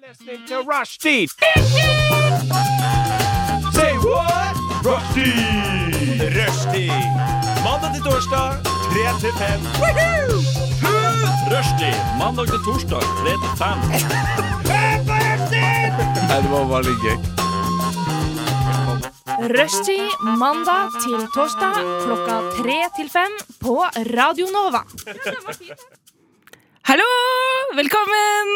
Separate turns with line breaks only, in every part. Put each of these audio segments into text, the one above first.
listening to Rushdie. Say what? Rushdie. Rushdie. Mandag til torsdag, 3 til 5. Rushdie. Mandag til torsdag, 3 til 5.
Rushtid mandag til torsdag klokka tre til fem på Radio Nova.
Hallo! Velkommen!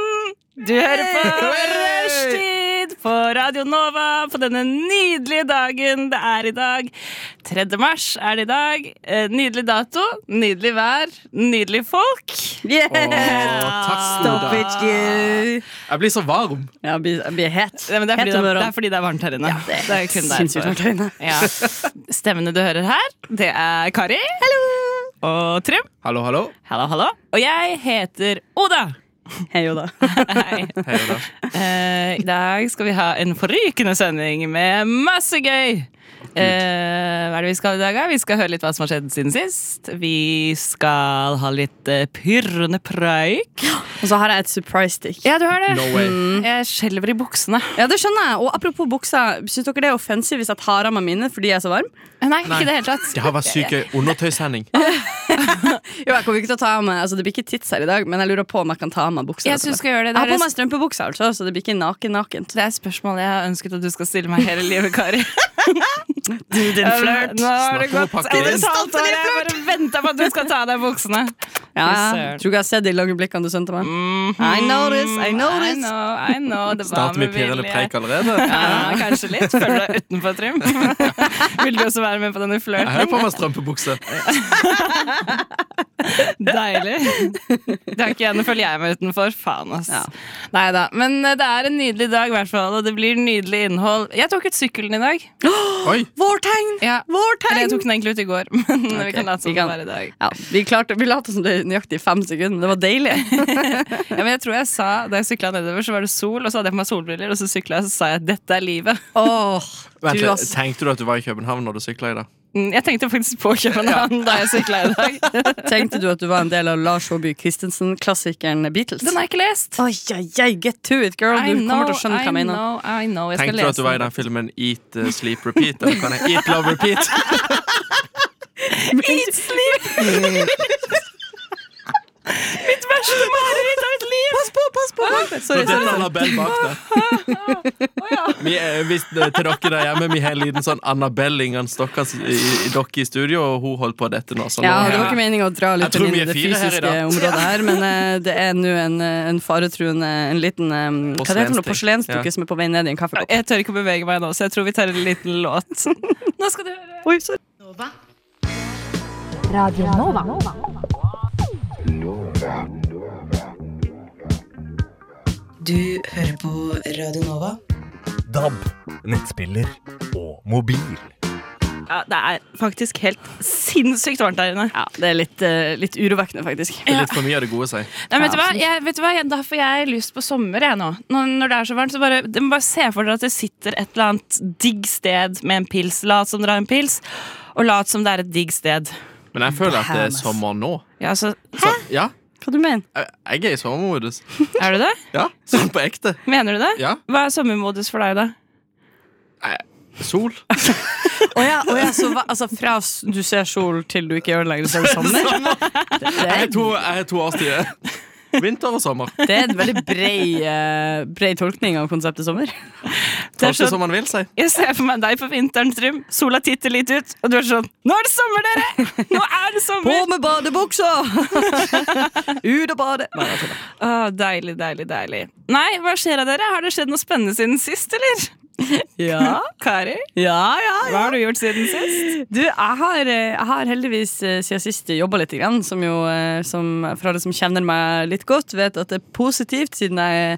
Du hører på Rushtid på Radio Nova på denne nydelige dagen det er i dag. 3. mars er det i dag. Eh, Nydelig dato, nydelig vær, nydelig folk.
Stop it, you.
Jeg blir så varm.
Ja, jeg blir, jeg blir het.
Nei, men det, er fordi det, er-
Hetteområdet.
det er fordi det er varmt her inne.
Det er,
jo kun
sinnssykt
derfor.
hardt her inne.
Ja. Stemmene du hører her, det er Kari. Hallo! Og Trym.
Hallo, hallo.
Hallo, hallo. Og jeg heter Oda.
Hei, Oda.
Hei.
Hei, Oda.
Eh, I dag skal vi ha en forrykende sending med masse gøy. Eh, hva er det vi skal i dag? da? Vi skal høre litt hva som har skjedd siden sist. Vi skal ha litt eh, pyrrende preik.
Og så har jeg et surprise stick.
Ja, du har det. Mm.
No way.
Jeg skjelver i buksene.
Ja, det skjønner jeg. Og apropos buksa, syns dere det er offensivt hvis jeg tar av meg mine fordi jeg er så varm?
Nei, ikke i det hele tatt.
Det har vært syke undertøysending.
Jo, jeg kommer ikke til å ta av meg, altså Det blir ikke tits her i dag, men jeg lurer på om jeg kan ta av meg buksa.
Jeg synes du skal gjøre det.
Jeg har
Det
på
er,
meg strømpebuksa, altså, så det blir ikke naken-nakent.
det er et spørsmål jeg har ønsket at du skal stille meg hele livet, Kari. Din
flørt.
Nå har det
Snakk om å
gått
pakke
Jeg
det inn.
bare venta på at du skal ta av deg buksene. Fy
Ja, jeg
søren. Mhm.
tror ikke jeg har sett de lange blikkene du sendte meg. I notice, I notice.
I know, I know. Det var
Starter med
med
pirrende
vilje.
preik allerede.
Ja, kanskje litt. Føler du deg utenfor, Trym? Vil du også være med på denne
Jeg har jo
flørten?
på meg strømpebukse.
Deilig. Det er ikke jeg, Nå føler jeg meg utenfor. Faen, ass.
Ja.
Neida. Men eh, det er en nydelig dag, i hvert fall, og det blir nydelig innhold. Jeg tok ut sykkelen i dag.
Oi,
Vår tegn!
Ja.
Vår
Eller
tegn!
jeg tok den egentlig ut i går, men vi kan late som
vi
det
kan-
var i dag.
Ja, vi klarte, vi lot som det er nøyaktig fem sekunder, men det var deilig.
Ja, men jeg tror jeg sa, Da jeg sykla nedover, så var det sol, og så hadde jeg på meg solbriller, og så sykla jeg, så sa jeg at 'dette er livet'.
Åh,
vent
du,
litt.
ass.
Tenkte du at du var i København når du sykla i dag?
Mm, Jeg tenkte faktisk på København da jeg sykla i dag.
Tenkte du at du var en del av Lars Håby Christensen-klassikeren Beatles?
Den har jeg ikke lest.
Oi, oi, oi, get to it, girl.
I
Du
know,
kommer til å skjønne hva jeg
I
mener.
know, I know. Jeg skal
Tenkte du at
lese
du var i den filmen Eat, uh, Sleep, Repeat? Eller kan jeg Eat, Love, Repeat?
Eat sleep!
Mitt verste mareritt av mitt liv! Ah. Pass på, pass på! Sorry,
Når
sorry.
den Annabelle bak deg. Vi, eh, hvis, eh, til dere der hjemme, vi har en liten sånn Annabelle Ingan Stokkas i, i, dere i studio, og hun holdt på dette nå. Så nå
Ja, det var ikke meningen å dra
Jeg
litt
tror
inn
vi
i
er
det
fire her i
fysiske
dag.
området her, men eh, det er nå en, eh, en faretruende, en liten um, Hva heter det? for noe?
Porselensting.
Porselensdukke
Ja.
som er på vei ned i en kaffekopp.
Jeg tør ikke å bevege meg nå, så jeg tror vi tar en liten låt. Nå skal du høre.
Oi, sorry.
Du hører på Radio Nova.
DAB, nettspiller og mobil.
Ja, det er faktisk helt sinnssykt varmt der inne.
Ja, det er litt, eh, litt urovekkende, faktisk.
Det er litt for mye av det gode, sier jeg.
Nei, men vet, du hva? Jeg, vet du hva? Jeg, Da får jeg lyst på sommer, jeg nå. Når, når det er så varmt, så bare, dere må bare se for dere at det sitter et eller annet digg sted med en pils. Lat som dere har en pils, og lat som det er et digg sted.
Men jeg føler at det er sommer nå.
Ja, så
Så, ja,
Hva du mener
jeg jeg er i sommermodus.
Er du det?
Ja, sånn på ekte.
Mener du det?
Ja.
Hva er sommermodus for deg, da?
Sol.
Å ja, å ja, så hva, altså fra s- du ser sol til du ikke gjør det lenger, så er det sommer? Det, det,
Jeg
er,
har to, jeg har to årstider. Vinter og sommer.
det er en veldig bred, eh, bred tolkning av konseptet sommer.
Det er
Tolke
sånn-
som man vil, si.
Jeg ser for meg deg på vinteren, Trym. Sola titter litt ut, og du er sånn Nå er det sommer, dere! Nå er det
På
sommer!
med badebuksa! Ut og bade! Nei, jeg tuller.
Åh, deilig, deilig, deilig. Nei, hva skjer av dere? Har det skjedd noe spennende siden sist, eller?
Ja,
Kari,
ja, ja.
hva har du gjort siden sist?
Du, jeg har, eh, jeg har heldigvis eh, siden sist jobba litt, grann, som jo, eh, som, for alle som kjenner meg litt godt, vet at det er positivt, siden jeg er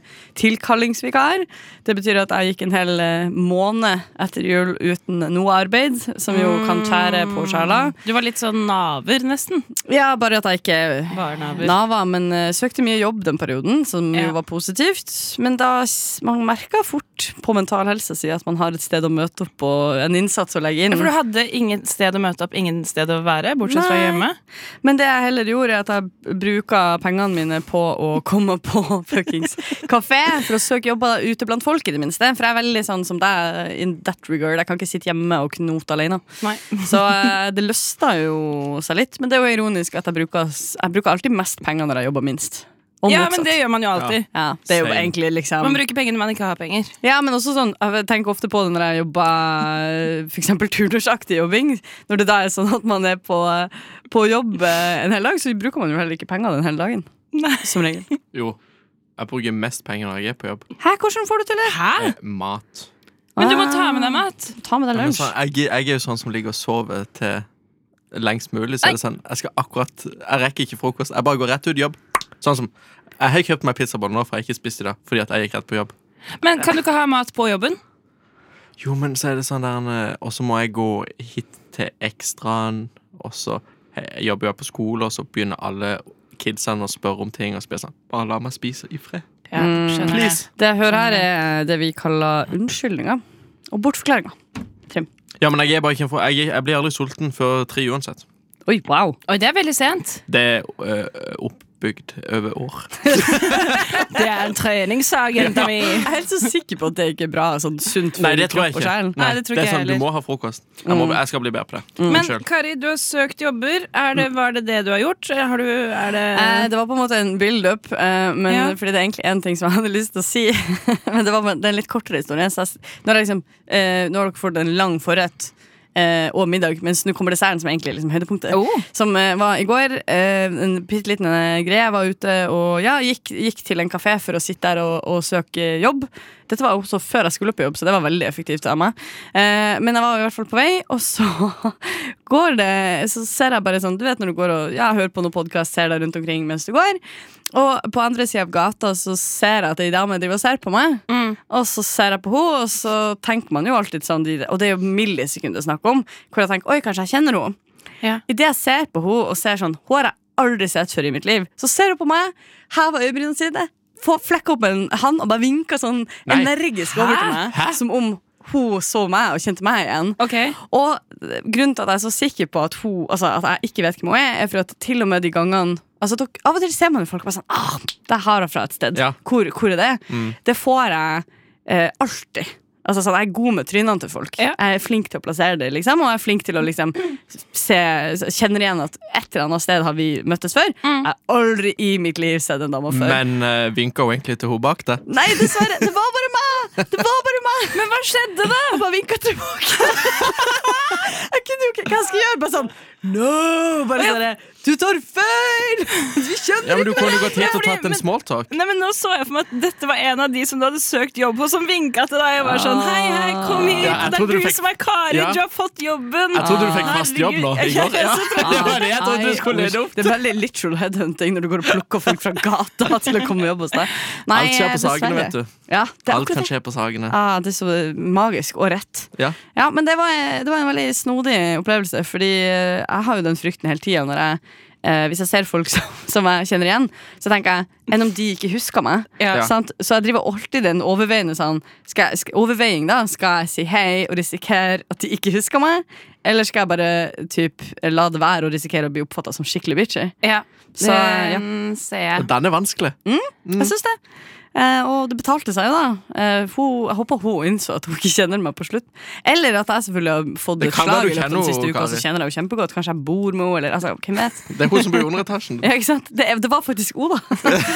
tilkallingsvikar. Det betyr at jeg gikk en hel eh, måned etter jul uten noe arbeid, som jo kan tære på sjela.
Du var litt sånn naver, nesten.
Ja, bare at jeg ikke
Barnaver.
Nava, men eh, søkte mye jobb den perioden, som
Ja.
jo var positivt. Men da s- man merka fort på mental helse anmeldelser sier at man har et sted å møte opp og en innsats å legge inn.
For du hadde ingen sted å møte opp, ingen sted å være, bortsett fra
Nei.
hjemme.
Men det jeg heller gjorde, er at jeg bruka pengene mine på å komme på fuckings kafé for å søke jobber ute blant folk, i det minste. For jeg er veldig sånn som deg in that regard. Jeg kan ikke sitte hjemme og knote alene.
Nei.
Så eh, det løsta jo seg litt. Men det er jo ironisk at jeg bruker, jeg bruker alltid mest penger når jeg jobber minst. Og
Ja,
motsatt.
men det gjør man jo alltid.
ja, det er jo
Same.
egentlig liksom
Man bruker penger når man ikke har penger.
Ja, men også sånn Jeg tenker ofte på det når jeg jobber eh, For eksempel turnusaktig jobbing Når det da er sånn at man er på, på jobb eh, en hel dag Så bruker man jo heller ikke penger den hele dagen
Nei.
Som regel
Jo. Jeg bruker mest penger når jeg er på jobb.
Hæ, hvordan får du til det?
Hæ?
Eh, Mat.
Men du må ta med deg mat.
Ta med deg
Ja, men
lunsj
sånn, jeg, jeg er jo sånn som ligger og sover til lengst mulig. Så er det sånn, jeg skal akkurat Jeg rekker ikke frokost. Jeg bare går rett ut jobb. Sånn som Jeg har kjøpt meg pizzaboller nå, for jeg har ikke spist i dag. Fordi at jeg gikk rett på jobb.
Men kan du ikke ha mat på jobben?
Jo, men så er det sånn der eh, Og så må jeg gå hit til ekstraen, og så he- jobber jeg på skole, og så begynner alle kidsene å spørre om ting, og så blir jeg sånn Bare la meg spise i fred.
Ja, skjønner jeg.
Please.
Det jeg hører her er det vi kaller unnskyldninger Og bortforklaringer
Ja, men jeg, er bare ikke en for, jeg, jeg blir aldri sulten før tre uansett.
Oi, wow
Oi, det er veldig sent.
Det er eh, oppbygd over år.
Det er en treningssak, jenta mi.
Jeg er helt så sikker på at det ikke er bra Sånn sunt for
Nei, det tror jeg
kropp og
ikke.
sjel.
Nei, det tror ikke
er
jeg
sånn, Du
heller.
må ha frokost. Jeg, må, jeg skal bli bedre på det.
Men
Unnskyld. Mm.
Kari, du har søkt jobber. Er det, var det det du har gjort? Har du, er det
Eh, det var på en måte en build-up, eh, men
Ja.
fordi det er egentlig én ting som jeg hadde lyst til å si. men det var bare- det er en litt kortere historie. Så jeg, s- nå, har jeg liksom, eh, nå har dere fått en lang forrett eh, og middag, mens nå kommer desserten, som egentlig er liksom høydepunktet.
Oh.
Som eh, var i går. Eh, en bitte liten eh, greie. Jeg var ute og ja, gikk, gikk til en kafé for å sitte der og, og søke jobb. Dette var også før jeg skulle på jobb, så det var veldig effektivt av meg. Eh, men jeg var i hvert fall på vei, og så går det, så ser jeg bare sånn Du vet når du går og ja, hører på noen podkast, ser deg rundt omkring mens du går. Og på andre sida av gata så ser jeg at ei dame driver og ser på meg. Og så ser jeg på henne, og så tenker man jo alltid sånn de- Og det er jo millisekunder snakk om, hvor jeg tenker oi, kanskje jeg kjenner henne.
Ja.
Idet jeg ser på henne og ser sånn Hun har jeg aldri sett før i mitt liv. Så ser hun på meg, hever øyebrynene sine, får flekk opp en hand og bare vinker sånn
Nei.
energisk over til meg. Som om hun så meg og kjente meg igjen.
Ok.
Og grunnen til at jeg er så sikker på at, hun, altså, at jeg ikke vet hvem hun er, er for at til og med de gangene Altså, dere, Av og til ser man jo folk og bare sånn ah, Det har jeg fra et sted.
Ja. Mm.
Hvor, hvor er det? Det får jeg eh, alltid. Altså sånn, Jeg er god med trynene til folk.
Ja.
Jeg er flink til å plassere det, liksom, og jeg er flink til å liksom se, kjenner igjen at et eller annet sted har vi møttes før. Jeg har aldri i mitt liv sett en dame før.
Men eh, vinker hun egentlig til hun bak deg?
Nei, dessverre. Det var bare meg! Det var bare meg
Men hva skjedde, da?
Jeg bare vinka tilbake. jeg kunne jo ikke Hva skal jeg gjøre? Bare sånn No! Bare sånn Du tar feil! Du skjønner
Ja, men Du
ikke
kunne jo gått hit og
fordi-
tatt en
men-
smalltalk.
Nei, men nå så jeg for meg at dette var en av de som du hadde søkt jobb hos, som vinka til deg. Jeg var sånn, hei, hei, kom hit,
Ah. Ja, jeg
det
trodde
er
du
du
fikk-
som er Kari,
Ja.
du har fått jobben.
Jeg trodde du fikk fast jobb nå. i går. Ja. Det var det jeg trodde du skulle lede opp.
Ah, Det er veldig literal headhunting når du går og plukker folk fra gata til å komme og jobbe hos deg. Nei, eh,
Alt skjer på sagene,
dessverre.
vet du.
Ja, det er
Alt
akkurat
kan
det.
skje på sagene.
Ah, det er så magisk og rett.
Ja.
Ja, men det var, det var en veldig snodig opplevelse, fordi eh, jeg har jo den frykten hele tida når jeg eh, hvis jeg ser folk som, som jeg kjenner igjen, så tenker jeg enn om de ikke husker meg?
Ja.
Sant? Så jeg driver alltid den overveiende sånn skal jeg, skal, Overveiing, da. Skal jeg si hei og risikere at de ikke husker meg? Eller skal jeg bare typ, la det være og risikere å bli oppfatta som skikkelig bitchy?
Ja,
Så, ja.
den ser jeg.
Den er vanskelig.
Mm.
Jeg syns det. Eh, og det betalte seg jo, da. Eh, hun, jeg håper hun innså at hun ikke kjenner meg på slutt. Eller at jeg selvfølgelig har fått
Det
et
kan
slag
være du
i løpet av
kjenner
den siste
henne,
uka, og så
Kari.
kjenner jeg henne kjempegodt. Kanskje jeg bor med henne, eller altså, hvem vet?
Det er hun som bor i underetasjen.
Ja, ikke sant? Det, er- det var faktisk hun, da.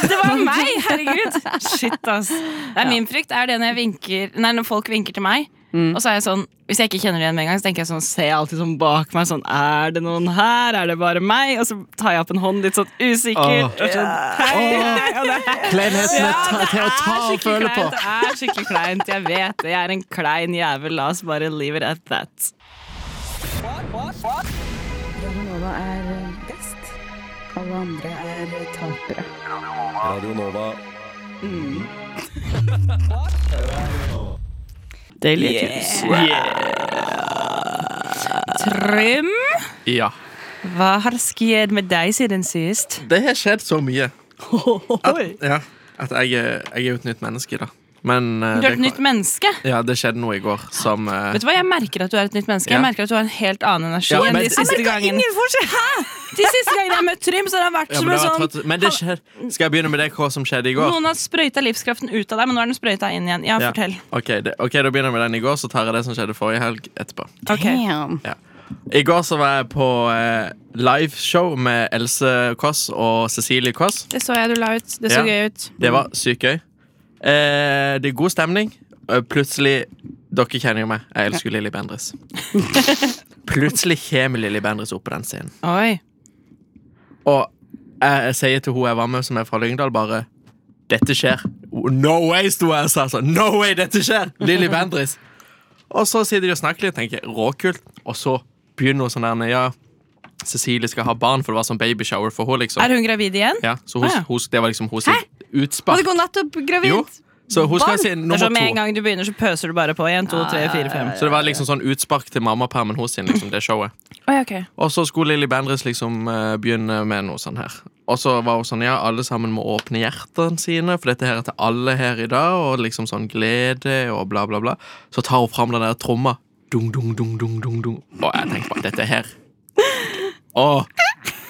Det var meg, herregud. Shit, ass. Det er min frykt er det når, jeg vinker, nei, når folk vinker til meg, og så er jeg sånn, hvis jeg ikke kjenner det igjen med en gang, så tenker jeg sånn, ser jeg alltid sånn bak meg, sånn, er det noen her, er det bare meg? Og så tar jeg opp en hånd litt sånn usikker.
Åh.
og Sånn, hei, og det er
Kleinheten er ta- til å ta
er
og
skikkelig
føle på.
kleint, Det er skikkelig kleint, jeg vet det. Jeg er en klein jævel. La oss bare leave it at that.
Radionova er eh, best. Alle andre er eh, tapere.
Radio Nova.
Mm.
Deilige tips.
Trym,
Ja.
hva har skjedd med deg siden sist?
eh, Det har skjedd så mye. At, ja, at jeg, er- jeg er jo et nytt menneske, da. Men eh,
Du er
det,
et nytt
kan-
menneske.
ja, det skjedde noe i går som eh,
Vet du hva, Jeg merker at du er et nytt menneske. Jeg
Ja.
merker at du har en helt annen energi
Ja,
enn
men-
de siste gangene. De siste gangene jeg har møtt Trym, så har han vært
ja,
som
men, det
en
var
sånn
trøtt- men det skjer Skal jeg begynne med det hva som skjedde i går?
Noen har sprøyta livskraften ut av deg, men nå er den sprøyta inn igjen. Ja,
Ja.
fortell.
Ok, det, ok, Da begynner jeg med den i går, så tar jeg det som skjedde forrige helg etterpå.
Ok.
Damn.
I går så var jeg på eh, liveshow med Else Kåss og Cecilie Kåss.
Det så jeg du la ut. Det
Ja.
så gøy ut.
Det var sykt gøy. Eh, det er god stemning. Eh, Plutselig Dere kjenner jo meg. Jeg elsker Lilly Bendriss. Plutselig kommer Lilly Bendriss opp på den scenen.
Oi.
Og jeg, jeg sier til hun jeg var med, som er fra Lyngdal, bare Dette skjer. No way, sto jeg og sa sånn. No way, dette skjer! Lilly Bendriss. Og så sitter de og snakker litt, tenker jeg, råkult. Og så begynner hun sånn der Ja, Cecilie skal ha barn, for det var sånn babyshower for henne, liksom.
Er hun gravid igjen?
Ja, så hun,
Ah, ja.
hun, det var liksom hun sitt
Og det
utspark.
går nettopp gravid.
Jo, så hun skal si
Det er
nummer
sånn Med en
to.
gang du begynner, så pøser du bare på. En, to, tre, fire, fem.
Så det var liksom sånn utspark til mammapermen hos sin, liksom, det showet.
Oi, ok.
Og så skulle Lilly Bendriss liksom eh, begynne med noe sånn her. Og så var hun sånn, ja, alle sammen må åpne hjertene sine, for dette her er til alle her i dag, og liksom sånn glede og bla, bla, bla. Så tar hun fram den der tromma. Dung, dung, dung, dung, dung, dung. Og jeg tenker bare, dette her. Åh,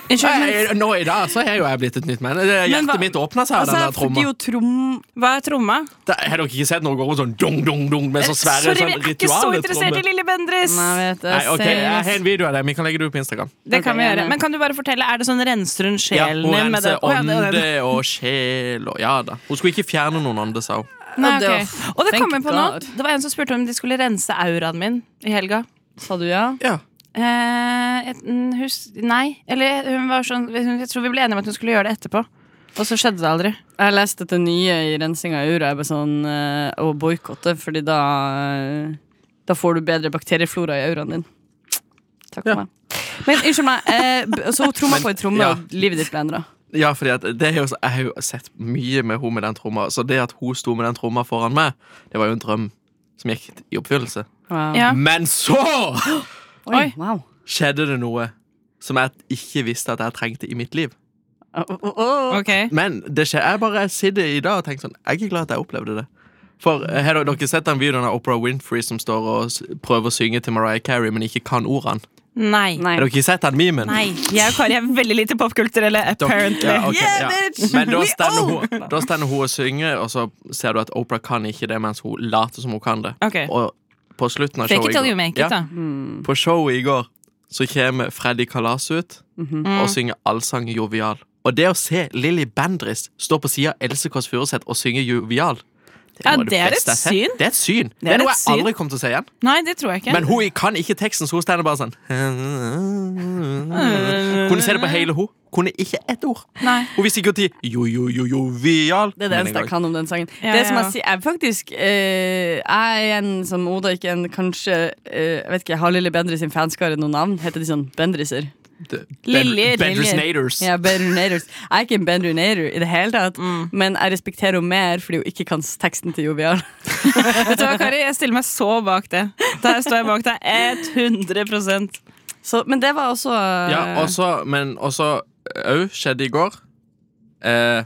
Unnskyld, men-
jeg- nå i dag så har jo jeg blitt et nytt menneske. Det-
Men hva-
Hjertet mitt åpna seg av den der
Altså, fordi
tromma.
jo trom...
hva er tromma?
Da- Har dere ikke sett noe gå rundt sånn dung, dung, dung, med så svære
Eh, Sorry, vi
sånn
er ikke så interessert i
ritualtrommer?
Lilly Bendriss!
Nei, jeg vet det.
Nei, ok, jeg har
Seriøst.
en video av det. Vi kan legge det ut på Instagram.
Det kan
Ok,
vi gjøre.
gjerne.
Men kan du bare fortelle, er det sånn renser hun
Ja,
sjelen
hun
din med
renser
det? Å, ja, det- det-
ånde og sjel og Ja da. Hun skulle ikke fjerne noen ånde, sa hun.
Nei,
Og det
ok.
var-
Og det kom jeg
Thank
på nå.
God.
Det var en som spurte om de skulle rense auraen min i helga.
Sa du ja?
Ja.
Eh, et, mm, hus, nei. Eller hun var sånn hun- Jeg tror vi ble enige om at hun skulle gjøre det etterpå. Og så skjedde det aldri.
Jeg leste det nye i rensing av ura. Jeg bare sånn eh, Å boikotte, fordi da eh, Da får du bedre bakterieflora i auraen din. Takk for
Ja.
meg. Men unnskyld meg. eh, b- så hun tromma
Men-
på ei tromme,
ja.
og livet ditt ble endra.
Ja, fordi at det er jo, så- Jeg har jo sett mye med hun med den tromma, så det at hun sto med den tromma foran meg, det var jo en drøm som gikk i oppfyllelse.
Wow.
Ja.
Men så
Oi.
Oi.
Wow.
skjedde det noe som jeg ikke visste at jeg trengte i mitt liv.
Å, å, å.
Ok
Men det skjer, jeg bare sitter i dag og tenker sånn Jeg er glad at jeg opplevde det. For eh, har dere sett den videoen av Opera Winfrey som står og s- prøver å synge til Mariah Carey, men ikke kan ordene?
Nei.
Nei.
Har dere ikke sett den memen?
Nei. Jeg og Kari er veldig lite popkulturelle, apparently.
Ja, ok,
Yeah,
ja.
bitch!
Men da
We
stender,
old!
hun, da stender hun og synger, og så ser du at Opera kan ikke det, mens hun later som hun kan det.
Ok.
Og på slutten av
Fake
showet
it till you make it,
ja,
da.
På showet i går så kommer Freddy Kalas ut
Mhm.
Mm.
og synger allsang jovial. Og det å se Lilly Bendriss stå på sida av Else Kåss Furuseth og synge jovial det
Ja,
noe av
det er et
beste jeg har sett.
syn.
Det er et syn. Det er,
er
noe jeg
et syn.
aldri kommer til å se igjen.
Nei, det tror jeg ikke.
Men hun kan ikke teksten, så hun stender bare sånn Kunne se det på hele hun. Kunne ikke ett ord.
Nei.
Hun visste ikke når jo, jo, jo, jovial
Det er det
Men en
eneste jeg
gang.
kan om den sangen.
Ja,
det som
ja.
Jeg sier, jeg faktisk eh, Jeg er en som Oda ikke en kanskje eh, Jeg vet ikke, Har Lille Bendriss sin fanskare noe navn? Heter de sånn Bendrisser?
Det-
Liljer,
Bend- Bendriss
liljer.
Naders.
Ja, Bendrinators. Jeg er ikke en Bendrinator i det hele tatt, men jeg respekterer henne mer fordi hun ikke kan s- teksten til Jovial.
Vet du hva, Kari, jeg stiller meg så bak det. Der står jeg bak deg 100
Så, men det var også eh,
Ja, også, men også Au skjedde i går. Eh,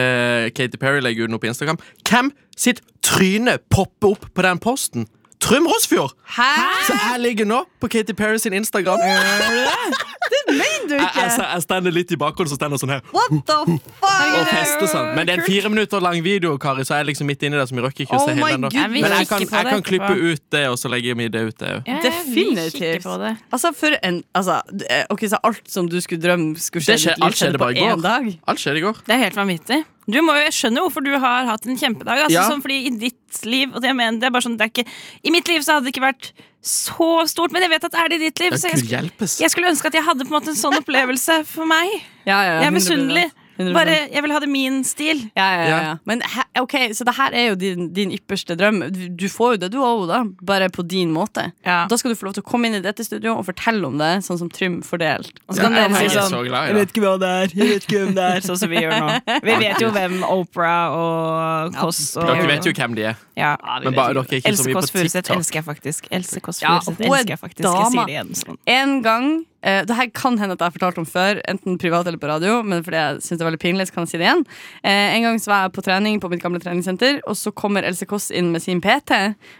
eh, Katy Perry legger ut noe på Instagram. Hvem sitt tryne popper opp på den posten? Trym Rosfjord!
Hæ?
Så jeg ligger nå på Katy Perry sin Instagram. Jeg,
Mener du ikke?
jeg, jeg stender litt i bakgrunnen, så stender jeg sånn her.
What the
og
fuck?
feste sånn. Men det er en fire minutter lang video, Kari, så jeg er liksom midt inni det. Så vi røkker ikke å se
Oh
hele
my
den da.
Gud,
vi
Men jeg
kikker
kan,
på
jeg
det
kan klippe
etterpå.
ut det, og så legger vi det ut. Det òg.
Ja, Vi kikker
Definitivt.
på det.
Altså, for en Altså, eh, ok, så alt som du skulle drømme skulle skje,
Det skje-
i ditt liv,
alt skjedde
skjedde på
bare i går.
én dag?
Alt skjedde i går.
Det er helt vanvittig. Du må jo, jeg skjønner hvorfor du har hatt en kjempedag. Altså,
Ja.
sånn, fordi I ditt liv og det jeg mener, det er bare sånn, det er ikke, I mitt liv så hadde det ikke vært så stort, men jeg vet at det er det i ditt liv.
Det
Så
kunne
jeg,
hjelpes.
jeg skulle ønske at jeg hadde på en måte en sånn opplevelse for meg.
Ja, ja, ja,
Jeg er
100%.
misunnelig.
100%.
Bare, jeg vil ha det min stil.
ja, ja, ja,
Ja.
ja. Men he- ok, så det her er jo din, din ypperste drøm. Du- Du får jo det du òg, da, bare på din måte.
Ja.
Da skal du få lov til å komme inn i dette studioet og fortelle om det, sånn som Trym fordelt. Og
Ja,
så kan
ja,
dere si
ja.
jeg er
sånn
så glad i det.
ikke hva det er, jeg vet ikke hvem det er, sånn som vi gjør nå. Vi vet jo hvem Opera og Kåss og
Dere vet jo hvem de er.
Ja.
Men bare dere er ikke så
Else
mye
Kåss
på
Furuseth
TikTok.
elsker jeg faktisk. Else Kåss
Ja,
Furuseth
hun er
elsker jeg faktisk. Jeg
dama.
sier det igjen sånn.
En gang eh, det her kan hende at jeg har fortalt om før, enten privat eller på radio, men fordi jeg synes det er veldig pinlig, så kan jeg si det igjen. Eh, en gang så var jeg på trening på mitt gamle treningssenter, og så kommer Else Kåss inn med sin PT,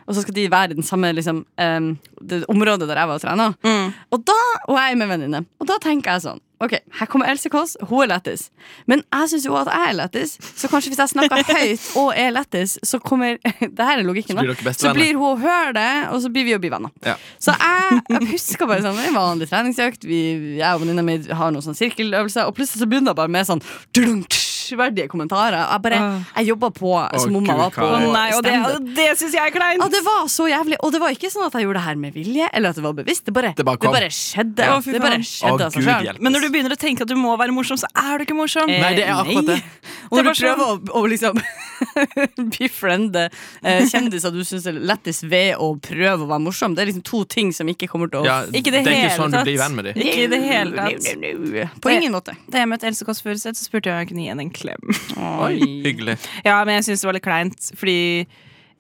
og så skal de være i den samme liksom, eh, det området der jeg var og trena. Og da, og jeg er med en venninne, og da tenker jeg sånn Ok, Her kommer Else Kåss, hun er lættis. Men jeg syns jo også at jeg er lættis, så kanskje hvis jeg snakker høyt og er lættis, så kommer Det her er logikken,
Så blir
da.
dere bestevenner.
Så blir hun å høre det, og så blir vi å bli venner.
Ja.
Så jeg, jeg husker bare sånn, det er en vanlig treningsøkt, vi, jeg og venninna mi har noen sånn sirkeløvelser, og plutselig så begynner jeg bare med sånn verdige kommentarer. Jeg bare, jeg jobba på som om jeg
Gud,
var på
Kari. Å
Ah. Nei, og det,
standup.
det syns jeg er kleint!
Ja, det var så jævlig, og det var ikke sånn at jeg gjorde det her med vilje, eller at det var bevisst, det bare,
Det bare kom.
skjedde.
Ja, fy
det bare
faen.
Å,
skjedde av seg
Gud
selv.
hjelpe.
Men når du begynner å tenke at du må være morsom, så er du ikke morsom.
Eh,
Nei, det er akkurat
nei.
det.
Det
Og når
var
du prøver å, å liksom befriende eh, kjendiser du syns er lettest ved å prøve å være morsom, det er liksom to ting som ikke kommer til å
Ja,
Ikke det,
det er ikke
hele
sånn du
tatt.
blir venn med dem.
Ikke i det hele tatt.
På ingen måte.
Da jeg møtte Else Kåss Furuseth, så spurte jeg om jeg kunne gi henne en klem.
Oi, hyggelig.
Ja, men jeg syntes det var litt kleint, fordi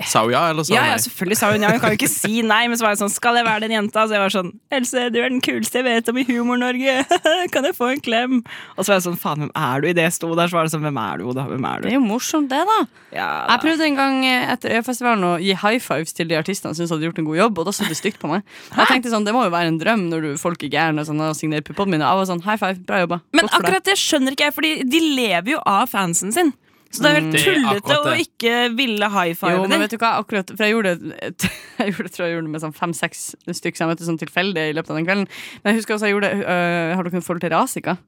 Sa hun ja, eller sa
Ja,
hun
ja,
nei?
selvfølgelig sa hun ja. Hun kan jo ikke si nei, men så var jeg sånn Skal jeg være den jenta? Så jeg var sånn Else, du er den kuleste jeg vet om i Humor-Norge. kan jeg få en klem? Og så var jeg sånn Faen, hvem er du? Idet jeg sto der, så var det sånn Hvem er du, Oda? Hvem er
Det
du?
er jo morsomt, det, da.
Ja,
Jeg prøvde en gang eh, etter Øyafestivalen å gi high fives til de artistene jeg syntes hadde gjort en god jobb, og da så det stygt på meg. Og jeg tenkte sånn, Det må jo være en drøm når du folk er gærne og sånn, og signerer puppene mine. Jeg var sånn, high five, bra jobba.
Men
Godt for deg.
akkurat det skjønner ikke jeg, Fordi de lever jo av fansen sin. Så det er helt
Mm. Det er
tullete
akkurat
å
det.
ikke ville high
Jo,
five
men
dem.
vet du hva, akkurat For jeg gjorde det Jeg gjorde, det- tror jeg gjorde det med sånn fem-seks stykker som jeg møtte sånn tilfeldig i løpet av den kvelden. Men jeg husker også jeg gjorde det øh, Har dere noe forhold til Rasika?